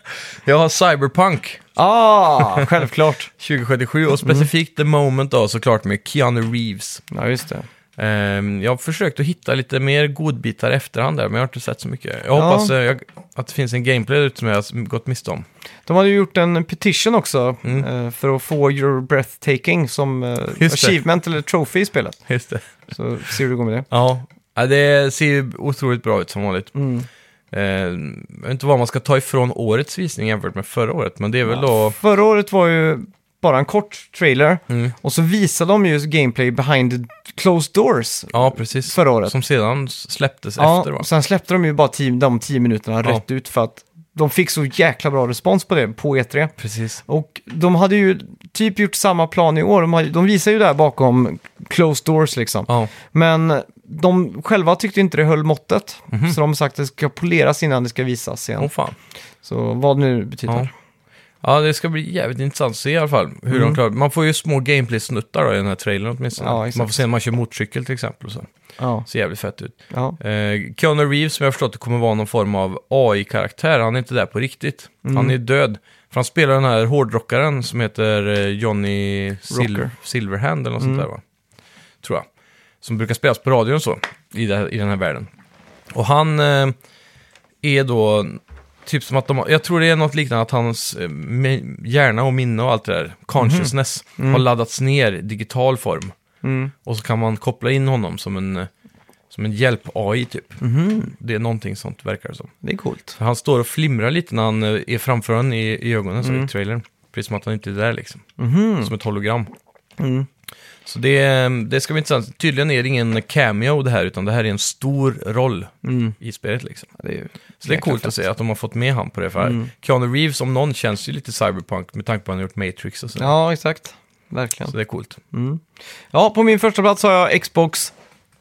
[SPEAKER 2] Jag har Cyberpunk
[SPEAKER 1] ah, självklart.
[SPEAKER 2] 2077 och
[SPEAKER 1] Mm.
[SPEAKER 2] specifikt The Moment då såklart med Keanu Reeves.
[SPEAKER 1] Ja, just det.
[SPEAKER 2] Ehm, jag har försökt att hitta lite mer godbitar i efterhand där, men jag har inte sett så mycket. Jag
[SPEAKER 1] Ja.
[SPEAKER 2] hoppas eh, jag, att det finns en gameplay där ute som jag har gått miste om.
[SPEAKER 1] De hade ju gjort en petition också
[SPEAKER 2] Mm.
[SPEAKER 1] eh, för att få Your Breathtaking som eh,
[SPEAKER 2] det.
[SPEAKER 1] achievement eller trophy i spelet.
[SPEAKER 2] Just det.
[SPEAKER 1] Så ser hur det går med det.
[SPEAKER 2] Ja. Ja, det ser ju otroligt bra ut som vanligt.
[SPEAKER 1] Mm.
[SPEAKER 2] Ehm, jag vet inte vad man ska ta ifrån årets visning jämfört med förra året, men det är väl då...
[SPEAKER 1] Förra året var ju bara en kort trailer
[SPEAKER 2] Mm.
[SPEAKER 1] och så visade de ju gameplay behind closed doors
[SPEAKER 2] Ja, precis.
[SPEAKER 1] förra året.
[SPEAKER 2] Som sedan släpptes efter va?
[SPEAKER 1] och sen släppte de ju bara tio, de tio minuterna
[SPEAKER 2] Ja.
[SPEAKER 1] rätt ut för att de fick så jäkla bra respons på det på E3.
[SPEAKER 2] Precis.
[SPEAKER 1] Och de hade ju typ gjort samma plan i år. De, hade, de visar ju där bakom closed doors liksom.
[SPEAKER 2] Ja,
[SPEAKER 1] Men de själva tyckte inte det höll måttet.
[SPEAKER 2] Mhm.
[SPEAKER 1] Så de har sagt att det ska poleras innan det ska visas igen.
[SPEAKER 2] åh fan.
[SPEAKER 1] Så vad det nu betyder.
[SPEAKER 2] Ja. ja, det ska bli jävligt intressant att se i alla fall hur de klarar Man får ju små gameplay-snuttar då i den här trailern åtminstone.
[SPEAKER 1] Mm. Ja, exakt.
[SPEAKER 2] man får se när man kör motorcykel till exempel. Och så.
[SPEAKER 1] Ja.
[SPEAKER 2] Ser jävligt fett ut.
[SPEAKER 1] Ja.
[SPEAKER 2] Eh, Keanu Reeves, som jag har förstått det kommer vara någon form av AI-karaktär. Han är inte där på riktigt.
[SPEAKER 1] Mm.
[SPEAKER 2] Han är död. För han spelar den här hårdrockaren som heter eh, Johnny Sil
[SPEAKER 1] Rocker. Mm.
[SPEAKER 2] Silverhand eller något sånt där va? Tror jag. Som brukar spelas på radion och så, i, det här, i den här världen. Och han eh, är då, typ som att de har- jag tror det är något liknande att hans eh, mi- hjärna och minne och allt det
[SPEAKER 1] Mhm.
[SPEAKER 2] där, consciousness, har laddats ner i digital form.
[SPEAKER 1] Mm.
[SPEAKER 2] Och så kan man koppla in honom som en, eh, som en hjälp-AI typ.
[SPEAKER 1] Mhm.
[SPEAKER 2] Det är någonting sånt verkar det som.
[SPEAKER 1] Det är coolt.
[SPEAKER 2] För han står och flimrar lite när han eh, är framför honom i, i ögonen
[SPEAKER 1] Mm.
[SPEAKER 2] så i trailern. Precis som att han inte är där liksom. Som ett hologram.
[SPEAKER 1] Mhm. Mm.
[SPEAKER 2] Så det, eh, det ska bli intressant. Tydligen är det ingen cameo det här, utan det här är en stor roll
[SPEAKER 1] Mm.
[SPEAKER 2] i spelet liksom.
[SPEAKER 1] Ja, det är ju
[SPEAKER 2] Så det är
[SPEAKER 1] jäkla
[SPEAKER 2] coolt att
[SPEAKER 1] fett.
[SPEAKER 2] se att de har fått med han på det. För
[SPEAKER 1] Mm.
[SPEAKER 2] Keanu Reeves om någon känns ju lite cyberpunk med tanke på att han har gjort Matrix och så.
[SPEAKER 1] Ja, exakt. Verkligen.
[SPEAKER 2] Så det är coolt.
[SPEAKER 1] Mm. Ja, på min första plats har jag Xbox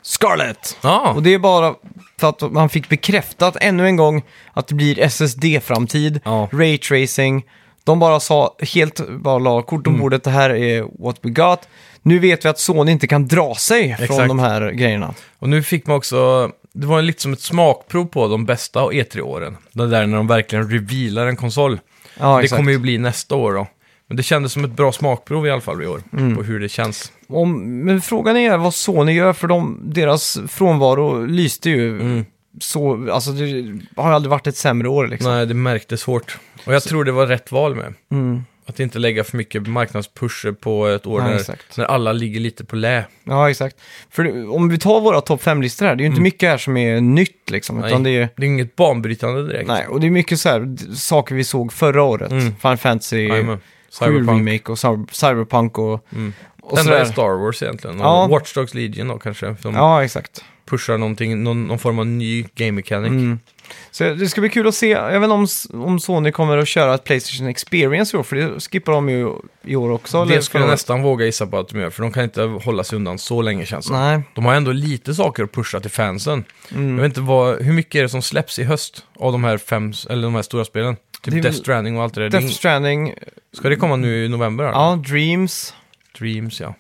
[SPEAKER 1] Scarlett.
[SPEAKER 2] Ja,
[SPEAKER 1] Och det är bara för att man fick bekräftat ännu en gång att det blir SSD-framtid,
[SPEAKER 2] Ja.
[SPEAKER 1] raytracing. De bara sa helt, bara la korten
[SPEAKER 2] Mm.
[SPEAKER 1] på bordet, det här är what we got. Nu vet vi att Sony inte kan dra sig från
[SPEAKER 2] Exakt.
[SPEAKER 1] de här grejerna.
[SPEAKER 2] och nu fick man också, det var lite som ett smakprov på de bästa E3-åren. Det där när de verkligen revealar en konsol.
[SPEAKER 1] Ja,
[SPEAKER 2] det
[SPEAKER 1] exakt.
[SPEAKER 2] kommer ju bli nästa år då. Men det kändes som ett bra smakprov i alla fall i år,
[SPEAKER 1] Mm.
[SPEAKER 2] på hur det känns.
[SPEAKER 1] Om, men frågan är vad Sony gör, för de, deras frånvaro lyste ju
[SPEAKER 2] Mm.
[SPEAKER 1] så, alltså det har aldrig varit ett sämre år liksom.
[SPEAKER 2] Nej, det märktes hårt. Och jag tror det var rätt val med.
[SPEAKER 1] Mm.
[SPEAKER 2] Att inte lägga för mycket marknadspusher på ett år
[SPEAKER 1] Nej,
[SPEAKER 2] när,
[SPEAKER 1] exakt.
[SPEAKER 2] när alla ligger lite på lä.
[SPEAKER 1] Ja, exakt. För om vi tar våra topp 5-listor här, det är ju
[SPEAKER 2] Mm.
[SPEAKER 1] inte mycket här som är nytt liksom. Utan det är,
[SPEAKER 2] Det är inget banbrytande direkt.
[SPEAKER 1] nej, och det är mycket så här, d- saker vi såg förra året.
[SPEAKER 2] Liksom. Mm.
[SPEAKER 1] Final Fantasy
[SPEAKER 2] Jajamän.
[SPEAKER 1] 7
[SPEAKER 2] Cyberpunk.
[SPEAKER 1] Remake och Cyber- Cyberpunk och,
[SPEAKER 2] Mm.
[SPEAKER 1] och
[SPEAKER 2] Sen är
[SPEAKER 1] sådär.
[SPEAKER 2] Star Wars egentligen. Och
[SPEAKER 1] Ja.
[SPEAKER 2] Watch Dogs Legion då kanske. De
[SPEAKER 1] Ja, exakt.
[SPEAKER 2] pushar någonting, någon, någon form av ny game mechanic.
[SPEAKER 1] Mm. Så det ska bli kul att se, jag vet inte om, s- om Sony kommer att köra ett Playstation Experience i år, för det skippar de ju i år också. eller
[SPEAKER 2] Det skulle
[SPEAKER 1] förra
[SPEAKER 2] jag
[SPEAKER 1] året.
[SPEAKER 2] nästan våga gissa på att de gör, för de kan inte hålla sig undan så länge känns det
[SPEAKER 1] Nej, Mm.
[SPEAKER 2] De har ändå lite saker att pusha till fansen. Jag vet inte vad, hur mycket är det som släpps i höst av de här fem, eller de här stora spelen? Typ
[SPEAKER 1] Det är väl-
[SPEAKER 2] Death Stranding och allt det där. Det är
[SPEAKER 1] Death
[SPEAKER 2] ing-
[SPEAKER 1] Stranding,
[SPEAKER 2] Ska det komma nu i november? eller?
[SPEAKER 1] ja, Dreams.
[SPEAKER 2] Dreams, ja.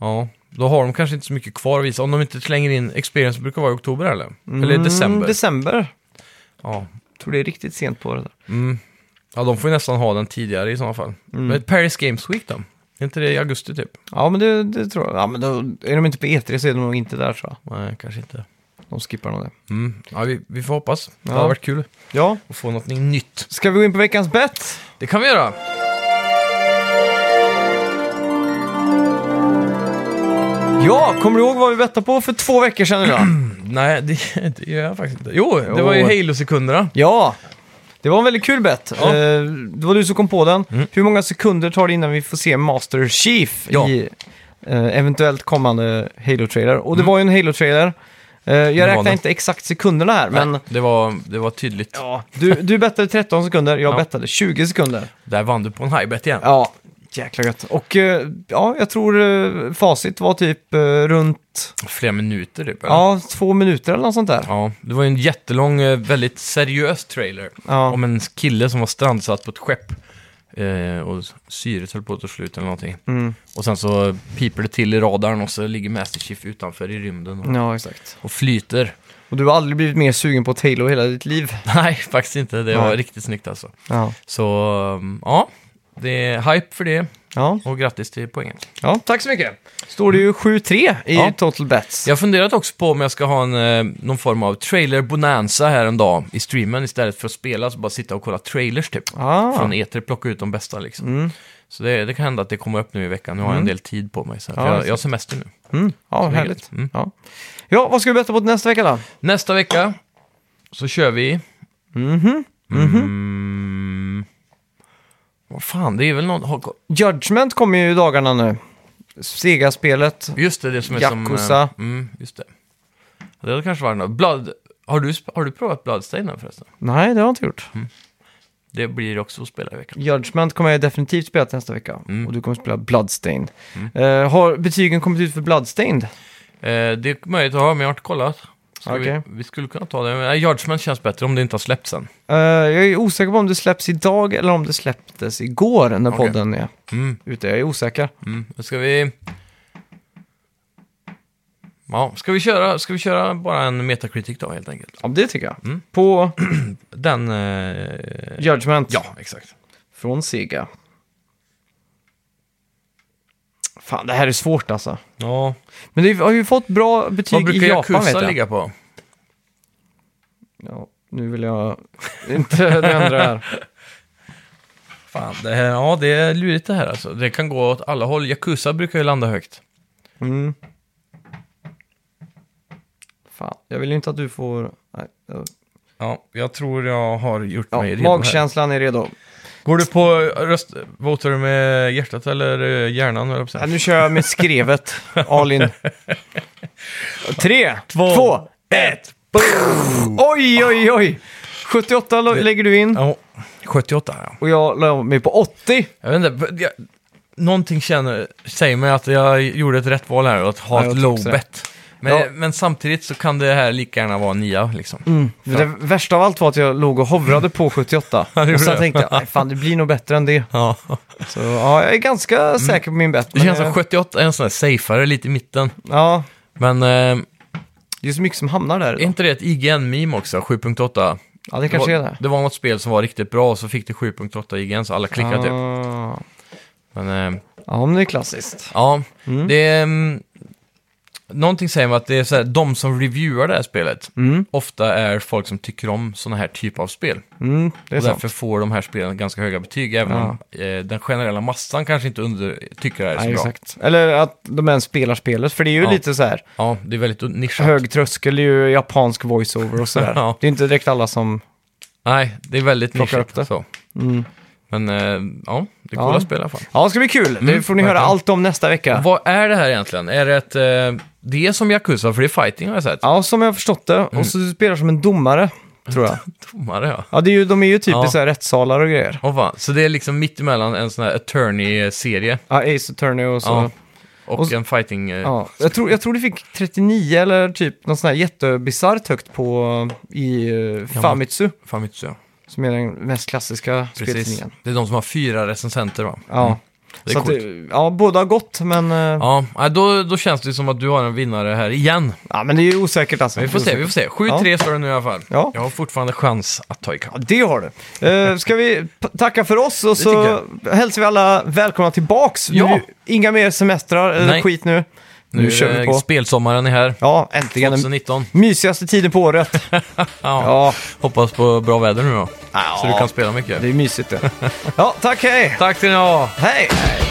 [SPEAKER 2] Ja, då har de kanske inte så mycket kvar att visa. Om de inte slänger in Experience brukar vara i oktober eller? Eller i
[SPEAKER 1] Mm,
[SPEAKER 2] december.
[SPEAKER 1] December.
[SPEAKER 2] ja.
[SPEAKER 1] Tror det är riktigt sent på det där.
[SPEAKER 2] Mm. ja, de får ju nästan ha den tidigare i sådana fall.
[SPEAKER 1] Mm.
[SPEAKER 2] Men Paris Games Week då? Är inte det i augusti typ?
[SPEAKER 1] Ja, men det, det tror jag. Ja, men då, är de inte på E3 så är de nog inte där tror jag.
[SPEAKER 2] Nej, kanske inte.
[SPEAKER 1] De skippar nog det.
[SPEAKER 2] Mm. Ja, vi, vi får hoppas. Det
[SPEAKER 1] Ja.
[SPEAKER 2] hade varit kul
[SPEAKER 1] Ja,
[SPEAKER 2] att få något nytt.
[SPEAKER 1] ska vi gå in på veckans bett?
[SPEAKER 2] Det kan vi göra!
[SPEAKER 1] Ja, kommer du ihåg vad vi bettade på för två veckor sedan nu då?
[SPEAKER 2] Nej, det, det gör jag faktiskt inte. Jo, det
[SPEAKER 1] Jo.
[SPEAKER 2] var ju Halo-sekunderna.
[SPEAKER 1] ja, det var en väldigt kul bett.
[SPEAKER 2] Ja. Mm.
[SPEAKER 1] Eh, det var du som kom på den. Hur många sekunder tar det innan vi får se Master Chief
[SPEAKER 2] Ja.
[SPEAKER 1] i eh, eventuellt kommande Halo-trailer? Och det var ju en Halo-trailer. Eh,
[SPEAKER 2] var
[SPEAKER 1] jag
[SPEAKER 2] Mm. det.
[SPEAKER 1] räknar inte exakt sekunderna här, men
[SPEAKER 2] Men det var, det var tydligt.
[SPEAKER 1] ja, du, du bettade 13 sekunder, jag
[SPEAKER 2] Ja.
[SPEAKER 1] bettade 20 sekunder.
[SPEAKER 2] Där vann du på en high bet igen.
[SPEAKER 1] Ja, jäkla gött. Och eh, ja, jag tror eh, facit var typ eh, runt
[SPEAKER 2] Flera minuter typ. eller?
[SPEAKER 1] ja, två minuter eller något sånt där.
[SPEAKER 2] ja. Det var ju en jättelång, eh, väldigt seriös trailer.
[SPEAKER 1] Ja.
[SPEAKER 2] Om en kille som var strandsatt på ett skepp. Eh, och syret höll på att ta slut eller någonting.
[SPEAKER 1] Mm.
[SPEAKER 2] Och sen så piper det till i radarn och så ligger Master Chief utanför i rymden och,
[SPEAKER 1] ja, exakt.
[SPEAKER 2] och flyter.
[SPEAKER 1] Och du har aldrig blivit mer sugen på ett Halo i hela ditt liv.
[SPEAKER 2] Nej, faktiskt inte. Det var
[SPEAKER 1] Nej.
[SPEAKER 2] riktigt snyggt alltså.
[SPEAKER 1] Ja,
[SPEAKER 2] Så, um, ja. Det är hype för det
[SPEAKER 1] ja.
[SPEAKER 2] och grattis till poängen.
[SPEAKER 1] ja tack så mycket. Står det ju 7-3 i
[SPEAKER 2] Ja.
[SPEAKER 1] total bets.
[SPEAKER 2] Jag har funderat också på om jag ska ha en, eh, någon form av trailer-bonanza här en dag i streamen istället för att spela, så bara sitta och kolla trailers typ.
[SPEAKER 1] Ah. Mm.
[SPEAKER 2] Från E3, plocka ut de bästa liksom. Så det, det kan hända att det kommer upp nu i veckan, nu har jag en del tid på mig. Så
[SPEAKER 1] Ja,
[SPEAKER 2] ja, jag,
[SPEAKER 1] exakt.
[SPEAKER 2] jag har semester nu.
[SPEAKER 1] Mm. Ja,
[SPEAKER 2] Så
[SPEAKER 1] härligt.
[SPEAKER 2] det är gött. Mm.
[SPEAKER 1] Ja. ja, vad ska vi betta på till nästa vecka då?
[SPEAKER 2] Nästa vecka så kör vi...
[SPEAKER 1] Mhm.
[SPEAKER 2] Mm, vad fan, det är väl någon... har-
[SPEAKER 1] Judgment kommer ju i dagarna nu. Sega-spelet.
[SPEAKER 2] Just det, det som är som...
[SPEAKER 1] Yakuza.
[SPEAKER 2] eh, Mm, just det. Det hade kanske varit något. Blood... Har du, sp- har du provat Bloodstained än förresten?
[SPEAKER 1] Nej, det har jag inte gjort.
[SPEAKER 2] Mm. Det blir också att spela i veckan.
[SPEAKER 1] Judgment kommer jag definitivt spela till nästa vecka.
[SPEAKER 2] Mm.
[SPEAKER 1] Och du kommer spela Bloodstained. Eh, har betygen kommit ut för Bloodstained?
[SPEAKER 2] Eh, det är möjligt att ha, men jag har inte kollat. Ska
[SPEAKER 1] Okej.
[SPEAKER 2] vi, vi skulle kunna ta det. Men Yardsman känns bättre om det inte har släppts än.
[SPEAKER 1] Eh, jag är osäker på om det släpps idag eller om det släpptes igår när
[SPEAKER 2] Okej.
[SPEAKER 1] podden är
[SPEAKER 2] Mm,
[SPEAKER 1] ute. Jag är osäker.
[SPEAKER 2] mm. Då Ska vi... Ja, ska vi, köra, ska vi köra bara en Metacritic då helt enkelt?
[SPEAKER 1] Ja, det tycker jag.
[SPEAKER 2] Mm.
[SPEAKER 1] På
[SPEAKER 2] Den... Eh...
[SPEAKER 1] Judgment
[SPEAKER 2] Ja, exakt.
[SPEAKER 1] från Sega. Fan, det här är svårt alltså.
[SPEAKER 2] Ja.
[SPEAKER 1] Men det har ju fått bra
[SPEAKER 2] Vad
[SPEAKER 1] betyg
[SPEAKER 2] brukar
[SPEAKER 1] i Japan vet
[SPEAKER 2] Yakuza
[SPEAKER 1] jag.
[SPEAKER 2] ligga på?
[SPEAKER 1] Ja, nu vill jag inte det andra här.
[SPEAKER 2] Fan, det här, ja, det är lurigt det här alltså. Det kan gå åt alla håll. Yakuza brukar ju landa högt.
[SPEAKER 1] Mm. Fan, jag vill ju inte att du får... Nej, jag-
[SPEAKER 2] Ja, jag tror jag har gjort
[SPEAKER 1] Ja,
[SPEAKER 2] mig redo här.
[SPEAKER 1] magkänslan är redo.
[SPEAKER 2] Går du på röst... Votar du med hjärtat eller eh, hjärnan? höll jag på att säga?
[SPEAKER 1] Ja, nu kör jag med skrevet, all in. Tre, två, ett. Oj, oj, oj! 78 lo- lägger du in
[SPEAKER 2] Ja, 78 ja.
[SPEAKER 1] och jag la mig på 80.
[SPEAKER 2] Jag vet inte, jag, någonting känner, säger mig att jag gjorde ett rätt val här och att ha
[SPEAKER 1] Ja, jag
[SPEAKER 2] ett
[SPEAKER 1] tror
[SPEAKER 2] low
[SPEAKER 1] också
[SPEAKER 2] bet. Men,
[SPEAKER 1] Ja.
[SPEAKER 2] men samtidigt så kan det här lika gärna vara en nia liksom.
[SPEAKER 1] Men Det värsta av allt var att jag låg och hovrade på 78.
[SPEAKER 2] gjorde
[SPEAKER 1] Och sen
[SPEAKER 2] det.
[SPEAKER 1] tänkte jag, "Nej, fan det blir nog bättre än det.
[SPEAKER 2] Ja.
[SPEAKER 1] Så ja, jag är ganska säker på min bett.
[SPEAKER 2] Mm. Det
[SPEAKER 1] men,
[SPEAKER 2] känns
[SPEAKER 1] eh,
[SPEAKER 2] som 78 är en sån här safeare lite i mitten.
[SPEAKER 1] Ja,
[SPEAKER 2] Men eh, är
[SPEAKER 1] det är så mycket som hamnar där. idag.
[SPEAKER 2] inte det ett IGN-meme också, 7.8?
[SPEAKER 1] Ja, det kanske
[SPEAKER 2] det
[SPEAKER 1] är
[SPEAKER 2] var,
[SPEAKER 1] det.
[SPEAKER 2] Det var något spel som var riktigt bra och så fick det 7.8 IGN så alla klickade typ.
[SPEAKER 1] Ah.
[SPEAKER 2] Men eh,
[SPEAKER 1] Ja, men det är klassiskt.
[SPEAKER 2] ja, det är... mm, Någonting säger mig att det är så här, de som reviewar det här spelet ofta är folk som tycker om sådana här typ av spel.
[SPEAKER 1] Mm, det är
[SPEAKER 2] Och
[SPEAKER 1] sant.
[SPEAKER 2] därför får de här spelen ganska höga betyg, även om eh, den generella massan kanske inte under, tycker det här är så
[SPEAKER 1] Nej,
[SPEAKER 2] bra.
[SPEAKER 1] exakt. Eller att de ens spelar spelet, för det är ju
[SPEAKER 2] Ja.
[SPEAKER 1] lite så här
[SPEAKER 2] Ja, det är väldigt nischat.
[SPEAKER 1] hög tröskel, är ju japansk voiceover och sådär.
[SPEAKER 2] Ja.
[SPEAKER 1] Det är inte direkt alla som...
[SPEAKER 2] Nej, det är väldigt
[SPEAKER 1] Plockar
[SPEAKER 2] nischat.
[SPEAKER 1] upp det. Mm.
[SPEAKER 2] Så. Men eh, ja, det är
[SPEAKER 1] Ja.
[SPEAKER 2] coola spel i alla fall.
[SPEAKER 1] Ja, det ska bli kul. det
[SPEAKER 2] Mm,
[SPEAKER 1] får ni höra
[SPEAKER 2] verkligen.
[SPEAKER 1] allt om nästa vecka.
[SPEAKER 2] Vad är det här egentligen? Är det ett... Eh, det är som Yakuza, för det är fighting har jag sett.
[SPEAKER 1] Ja, som jag har förstått det.
[SPEAKER 2] Mm.
[SPEAKER 1] Och så spelar som en domare, tror jag.
[SPEAKER 2] Domare ja.
[SPEAKER 1] Ja, det är ju, de är ju typ
[SPEAKER 2] Ja.
[SPEAKER 1] i så här rättssalar och grejer.
[SPEAKER 2] Åh fan. Så det är liksom mittemellan en sån här attorney-serie
[SPEAKER 1] Ja, Ace Attorney och så.
[SPEAKER 2] Ja.
[SPEAKER 1] Ja.
[SPEAKER 2] och,
[SPEAKER 1] Och s-
[SPEAKER 2] en fighting... Eh,
[SPEAKER 1] Jag, tror, jag tror det fick 39 eller typ något sånt här jättebisarrt högt på i eh, Famitsu.
[SPEAKER 2] Famitsu ja.
[SPEAKER 1] Som är den mest klassiska
[SPEAKER 2] Precis.
[SPEAKER 1] speltidningen.
[SPEAKER 2] Det är de som har fyra recensenter va?
[SPEAKER 1] Ja.
[SPEAKER 2] Det är
[SPEAKER 1] så att
[SPEAKER 2] coolt.
[SPEAKER 1] det, ja, båda har gått, men, eh, ja.
[SPEAKER 2] Ja, nej, då, då känns det som att du har en vinnare här igen.
[SPEAKER 1] men det är ju osäkert alltså.
[SPEAKER 2] Men vi får se, vi får se. 7-3 står det nu i alla fall.
[SPEAKER 1] Ja.
[SPEAKER 2] Jag har fortfarande chans att ta ikapp.
[SPEAKER 1] Ja, det har du. Eh, ska vi p- tacka för oss och så
[SPEAKER 2] tycker
[SPEAKER 1] hälsar vi alla välkomna tillbaks. Nu-
[SPEAKER 2] Ja.
[SPEAKER 1] Inga mer semestrar eller
[SPEAKER 2] Nej.
[SPEAKER 1] skit nu. Nu,
[SPEAKER 2] är
[SPEAKER 1] kör vi
[SPEAKER 2] det-
[SPEAKER 1] på.
[SPEAKER 2] Spelsommaren är här.
[SPEAKER 1] Ja, äntligen. Den
[SPEAKER 2] 2019.
[SPEAKER 1] mysigaste tiden på året.
[SPEAKER 2] Ja.
[SPEAKER 1] Ja,
[SPEAKER 2] Hoppas på bra väder nu då.
[SPEAKER 1] Ja.
[SPEAKER 2] Så du kan spela mycket.
[SPEAKER 1] det är mysigt det. Ja, tack, hej!
[SPEAKER 2] Tack till er.
[SPEAKER 1] Hej!